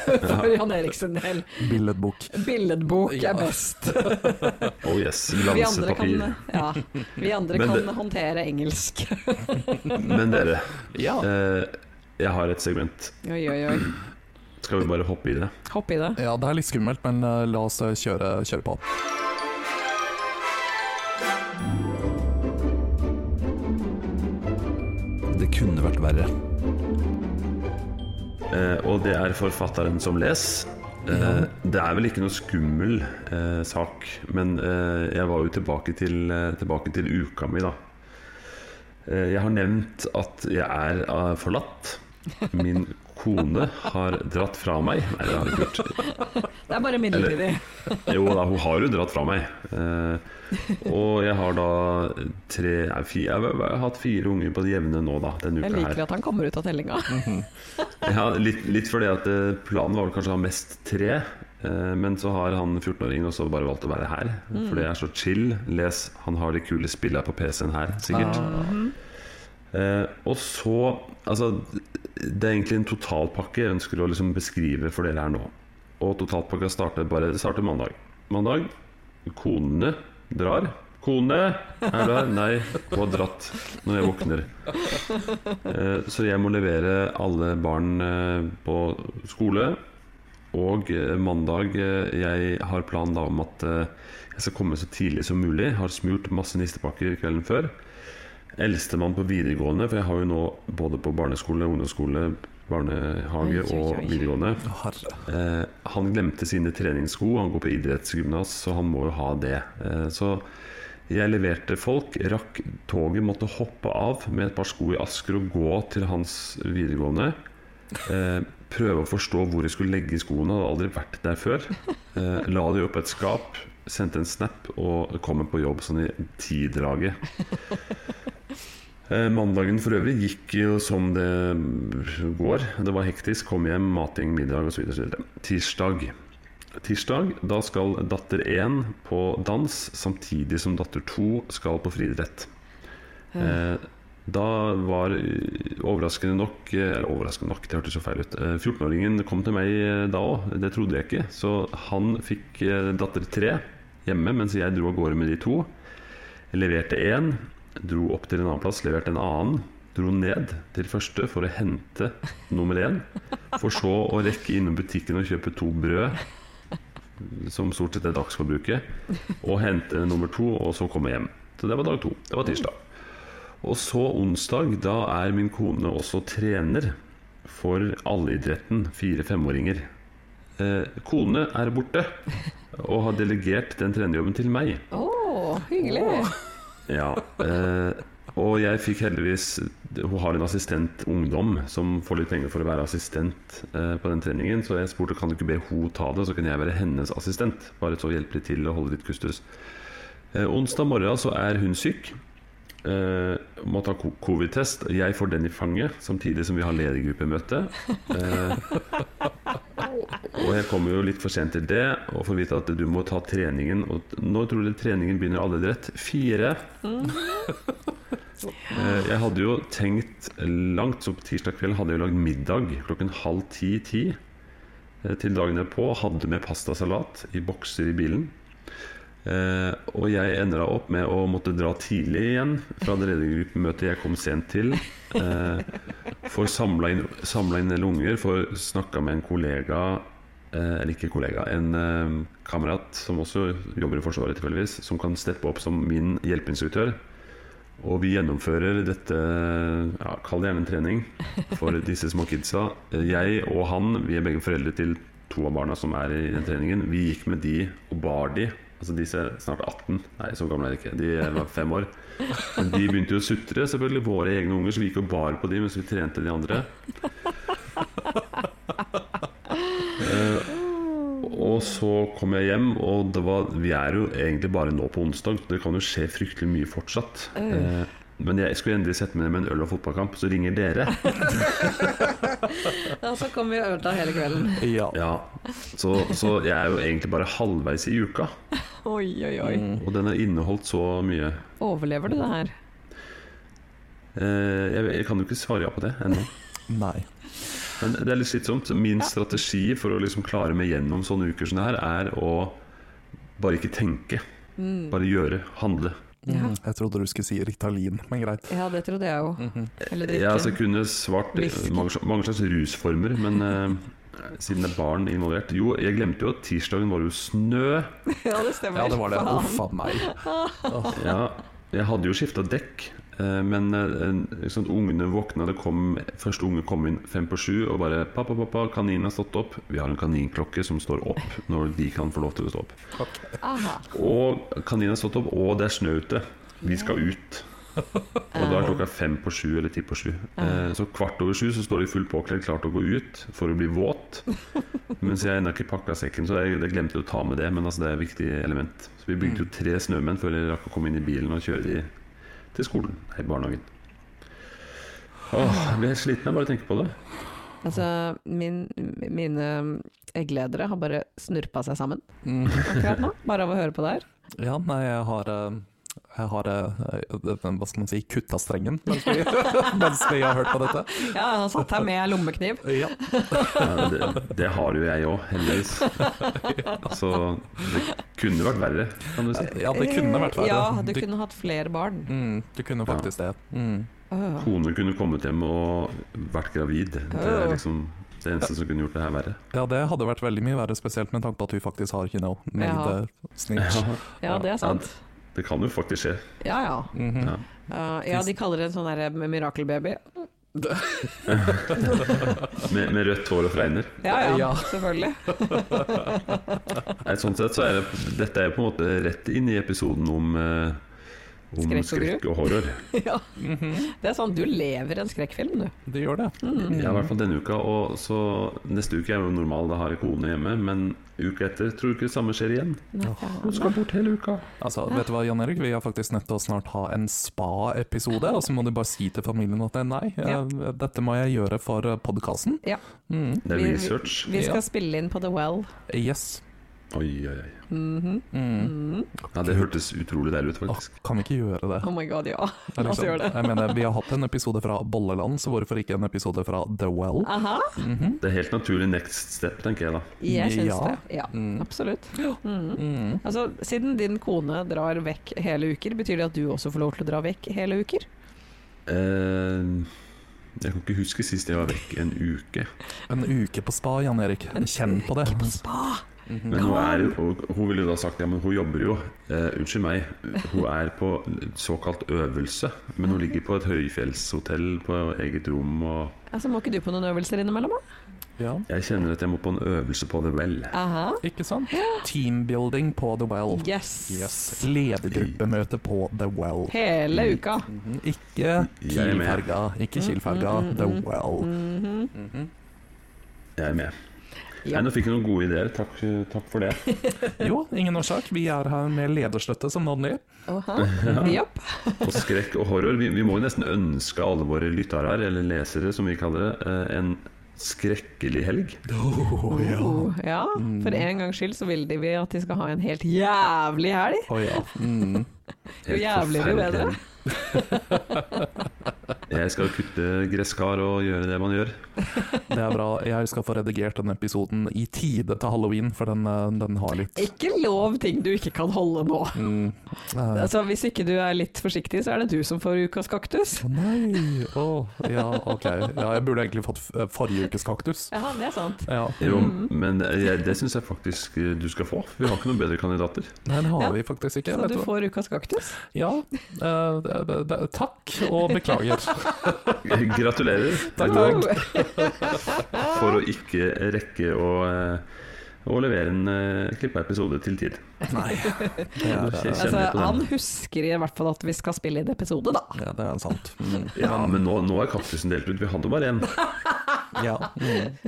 for Jan Eriksen del. Billedbok. Billedbok Ja. er best. Oh yes, Vi andre kan, glansepapir. ja, vi andre Men kan det- håndtere engelsk. eh, Men dere, Ja. eh, jeg har et segment. Oi, oi, oi. Skal vi bare hoppe i det? Hopp i det. ja, det er litt skummelt, men eh, la oss eh, kjøre, kjøre på. Det kunne vært verre. Eh, og det er forfatteren som les. Eh, Det er vel ikke noe skummel eh, sak, men eh, jeg var jo tilbake til, eh, tilbake til uka mi, da. Eh, jeg har nevnt at jeg er eh, forlatt. Min kone har dratt fra meg. Nei, det har hun ikke gjort. Det er bare midlertidig. Jo da, hun har jo dratt fra meg. Eh, og jeg har da tre nei, fi- Jeg har hatt fire unger på det jevne nå, da, denne uka Jeg her. liker at han kommer ut av tellinga. Ja, litt, litt fordi at eh, planen var vel kanskje å ha mest tre, eh, men så har han 14-åringen også bare valgt å være her. For det er så chill. Les, han har de kule spillene på PC-en her, sikkert. Eh, og så Altså, det er egentlig en totalpakke jeg ønsker å liksom beskrive for dere her nå. Og totalpakka starter bare det starter mandag. Mandag. Konene drar. Kone, er du her? Nei, hun har dratt når jeg våkner. Eh, Så jeg må levere alle barn eh, på skole. Og eh, mandag eh, Jeg har plan da om at eh, jeg skal komme så tidlig som mulig. Har smurt masse nistepakker kvelden før. Eldstemann på videregående, for jeg har jo nå både på barneskole, ungdomsskole, barnehage Oi, oi, og oi. videregående. Herre. Eh, han glemte sine treningssko, han går på idrettsgymnas, så han må jo ha det. Eh, så jeg leverte folk, rakk toget, måtte hoppe av med et par sko i Asker og gå til hans videregående. Eh, prøve å forstå hvor jeg skulle legge skoene, hadde aldri vært der før. Eh, la de opp et skap, sendte en snap og kommer på jobb sånn i tidraget. Eh, Mandagen for øvrig gikk jo som det går. Det var hektisk. Kom hjem, mating, middag osv. Tirsdag. Tirsdag da skal datter 1 på dans, samtidig som datter 2 skal på friidrett. Eh, da var eh, overraskende nok eh, Eller overraskende nok, det hørtes så feil ut. eh, 14-åringen kom til meg eh, da òg, det trodde jeg ikke. Så han fikk eh, datter 3 hjemme, mens jeg dro av gårde med de to. Jeg leverte én, dro opp til en annen plass, leverte en annen. Dro ned til første for å hente nummer én. For så å rekke innom butikken og kjøpe to brød, som stort sett er dagsforbruket. Og hente nummer to, og så komme hjem. Så det var dag to. Det var tirsdag. Og så onsdag, da er min kone også trener for allidretten, fire-femåringer. Eh, kone er borte, og har delegert den trenerjobben til meg. Å, hyggelig. Ja, eh, og jeg fikk heldigvis Hun har en assistent ungdom som får litt penger for å være assistent eh, på den treningen, så jeg spurte kan du ikke be hun ta det, så kan jeg være hennes assistent. Bare så hjelpe litt til og holde litt kustus. Eh, onsdag morgen så er hun syk. Eh, må ta ko- covid-test. Jeg får den i fanget, samtidig som vi har ledergruppemøte. Eh, Og jeg kommer jo litt for sent til det og får vite at du må ta treningen. Og t- når tror du treningen begynner allidrett? Fire. Eh, Jeg hadde jo tenkt langt, så på tirsdag kveld hadde jeg lagd middag klokken halv ti-ti til dagen jeg på. Hadde med pastasalat i bokser i bilen. Eh, og jeg ender da opp med å måtte dra tidlig igjen fra det ledergruppemøtet jeg kom sent til. Eh, får samla inn, samlet inn en del unger, får snakka med en kollega eh, Eller ikke kollega, en eh, kamerat som også jobber i Forsvaret, tilfeldigvis, som kan steppe opp som min hjelpeinstruktør. Og vi gjennomfører dette ja, Kall det gjerne en trening for disse små kidsa. Jeg og han, vi er begge foreldre til to av barna som er i den treningen. Vi gikk med de og bar de. Altså disse er snart 18. Nei, så gamle er de ikke. De var fem år. Men de begynte jo å sutre, selvfølgelig. Våre egne unger. Så vi gikk og bar på de mens vi trente de andre. Eh, og så kom jeg hjem, og det var, vi er jo egentlig bare nå på onsdag. Det kan jo skje fryktelig mye fortsatt. Eh, men jeg skulle endelig sette meg ned med en øl og fotballkamp, så ringer dere. Ja, så kommer vi og ødela hele kvelden. Ja. Ja, så, så jeg er jo egentlig bare halvveis i uka, Oi, oi, oi. Mm. og den har inneholdt så mye. Overlever du det her? Eh, jeg, jeg kan jo ikke svare ja på det ennå. Nei. Men det er litt slitsomt. Min strategi for å liksom klare meg gjennom sånne uker som det her, er å bare ikke tenke. Bare gjøre. Handle. Ja. Mm, Jeg trodde du skulle si Ritalin, men greit. Mhm. Ja, det trodde jeg jo. Eller Jeg altså, drikke. kunne svart eh, Whisky. mange, sl- mange slags rusformer, men eh, siden det er barn involvert Jo, jeg glemte jo at tirsdagen var jo snø. Ja, det stemmer. Ja, det var det. Faen. Uff a meg. Ja, jeg hadde jo skifta dekk, eh, men eh, en- ikke sant, ungene våkna det kom, Første unge kom inn fem på sju og bare 'Pappa, pappa, kaninen har stått opp.' Vi har en kaninklokke som står opp når de kan få lov til å stå opp. Aha. Og kaninen har stått opp, og det er snø ute. Vi skal ut. Og Eh, da er klokka fem på sju eller ti på sju. Eh, Så kvart over sju så står de fullt påkledd, klart å gå ut for å bli våt. Mens jeg ennå ikke pakka sekken, så jeg, jeg glemte å ta med det. Men altså, det er et viktig element. Så vi bygde jo tre snømenn før jeg rakk å komme inn i bilen og kjøre de til skolen. Nei, barnehagen. Åh, jeg blir helt sliten av bare å tenke på det. Altså, min, mine um, eggledere har bare snurpa seg sammen Mm. akkurat nå, bare av å høre på det her. Ja, nei, jeg har eh, jeg har, eh, eh, hva skal man si, kutta strengen mens vi, mens vi har hørt på dette. Ja, han satt her med lommekniv. Ja. Ja, det, det har jo jeg òg, heldigvis. Så det kunne vært verre, kan du si. ja, det kunne vært verre. Ja, du kunne hatt flere barn. mm, du kunne faktisk det. Mm. Åh. Kone kunne kommet hjem og vært gravid. Det er liksom det eneste som kunne gjort det her verre. Ja, det hadde vært veldig mye verre, spesielt med tanke på at vi faktisk har, you know, made Ja. a snitch. Ja, det er sant. Det kan jo faktisk skje. Ja ja. Mhm. Ja. Uh, ja, de kaller det en sånn derre mirakelbaby. Med, med rødt hår og fregner. Ja ja, Ja. selvfølgelig. Nei, Sånn sett så er det, dette er jo på en måte rett inn i episoden om, eh, om Skrekk og skrekk, og horror. Ja. Det er sånn, du lever en skrekkfilm, du. mhm. Mm. Det gjør det. Ja, I hvert fall denne uka. Og så neste uke er jo normal, da har jeg kone hjemme. Men uka etter tror du ikke det samme skjer igjen? Hun skal bort hele uka. Altså, vet du hva, Jan Erik, vi er faktisk nødt til å snart ha en spa-episode, og så må du bare si til familien at nei, Ja. eh, dette må jeg gjøre for eh, podkasten. Ja. Det er Vi- research. Vi skal Ja. spille inn på The Well. Yes. Oi, oi, oi. Mhm. Mm. Mhm. Ja, det hørtes utrolig deilig ut, faktisk. Kan vi ikke gjøre det? Oh my god, ja. Det er La oss liksom- gjøre Altså, det. Jeg mener, Vi har hatt en episode fra Bolleland, så hvorfor ikke en episode fra The Well? Aha. Mhm. Det er helt naturlig next step, tenker jeg da. Jeg syns Ja. det. Ja, Mm. absolutt. Mhm. Mm. Altså, siden din kone drar vekk hele uker, betyr det at du også får lov til å dra vekk hele uker? Eh, jeg kan ikke huske sist jeg var vekk en uke. En uke på spa, Jan Erik. Kjenn på det. spa! Men hun, er, jo- og hun ville jo da sagt ja, men hun jobber jo. Eh, unnskyld meg, hun er på såkalt øvelse. Men hun ligger på et høyfjellshotell på eget rom, og Altså, må ikke du på noen øvelser innimellom, da? Ja. jeg kjenner at jeg må på en øvelse på det vel. Aha. Ikke sant? Teambuilding på The Well. Yes. Yes. Ledergruppemøte på The Well. Hele uka. Mhm. Ikke Jeg er med. Kiel-ferga, ikke Mm, Kiel-ferga, The Well. Mhm. Jeg er med. Ja. Nei, nå fikk jeg noen gode ideer. Takk, takk for det. Jo, ingen årsak. Vi er her med lederstøtte som vanlig. Aha. Japp. Og skrekk og horror. Vi, vi må jo nesten ønske alle våre lyttere, her, eller lesere som vi kaller det, eh, en skrekkelig helg. Oh, Oh, ja. For en gangs skyld så vil de vi at de skal ha en helt jævlig helg. Å ja. Mm. Jo jævlig, jo bedre. forferdelig. Jeg skal kutte gresskar og gjøre det man gjør. Det er bra. Jeg skal få redigert den episoden i tide til halloween, for den, eh, den har litt Ikke lov ting du ikke kan holde nå. mm. eh, Altså, hvis ikke du er litt forsiktig, så er det du som får ukas kaktus. Å nei! Å, ja, ok. Ja, jeg burde egentlig fått eh, forrige ukes kaktus. Ja, det er sant. Ja. Jo, Mhm. men jeg, det syns jeg faktisk eh, du skal få. Vi har ikke noen bedre kandidater. Den har Ja. vi faktisk ikke. Så Vet du du hva? får ukas kaktus. Ja. eh, det- det- takk og beklager. Gratulerer Takk, takk. Oh. for å ikke rekke å, eh, å levere en eh, klippa episode til tid. Nei. Det er, Jeg eh, Altså, kjenner på han den. husker i hvert fall at vi skal spille inn episode, da. ja, det er sant. Mm. Ja, men nå, nå er kaktusen delt ut. Vi hadde jo bare én. Ja. Mm.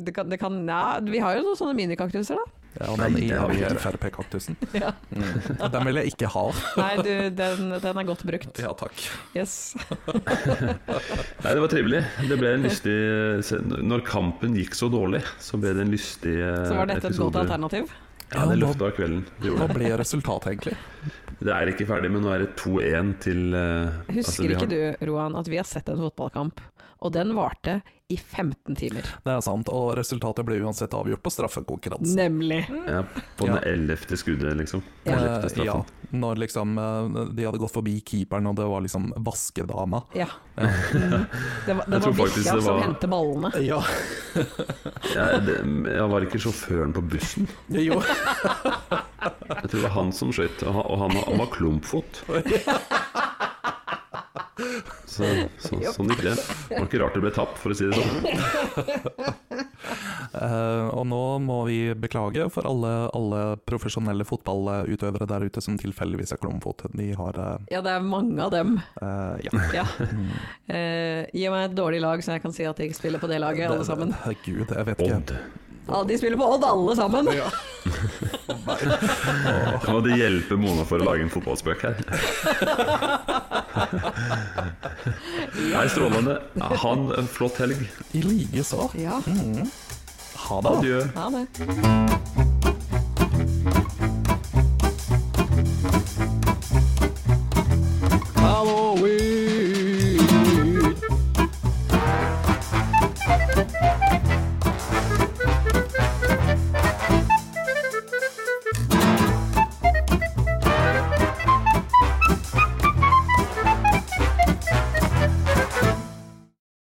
Det kan, det kan, ja, vi har jo noen sånne minikaktuser, da. ja Nei, den det har vi evige ikke. Frp-kaktusen. Ja. Mm. Den vil jeg ikke ha. Nei, du, den, den er godt brukt. Ja, takk. Yes. Nei, det var trivelig. Det ble en lystig eh, se- Når kampen gikk så dårlig, så ble det en lystig eh, Så var dette et godt episode. alternativ. Ja, det løfta kvelden. Det, gjorde Hva det. ble resultatet, egentlig? det er ikke ferdig, men nå er det 2-1 til eh, altså, Husker vi har- ikke du, Roan, at vi har sett en fotballkamp, og den varte i 15 timer. Det er sant, og resultatet ble uansett avgjort på straffekonkurransen. Nemlig. Ja, på Ja. det ellevte skuddet, liksom. Ja. Den ellevte Eh, ja, straffen. når liksom eh, de hadde gått forbi keeperen, og det var liksom vaskedama. Ja. Mm. Det var, det tror var faktisk Bikkja det som var- hentet ballene. Ja, Ja, det, jeg var ikke sjåføren på bussen. jo. Jeg tror det var han som skøyt, og han, og han, han var klumpfot. Så, så, sånn gikk det. Det var ikke rart det ble tapt, for å si det sånn. Eh, og nå må vi beklage for alle, alle profesjonelle fotballutøvere der ute som tilfeldigvis er klumfot. De har eh, Ja, det er mange av dem. eh, ja. Ja. Eh, gi meg et dårlig lag, så jeg kan si at de ikke spiller på det laget, alle sammen. Herregud, jeg vet ikke. Odd. Ja, de spiller på Odd, alle sammen! Kan det hjelpe Mona for å lage en fotballspøk her? Nei, strålende. Ha en flott helg. I like så. Ja, Ha det. Adjø. ha det. Thank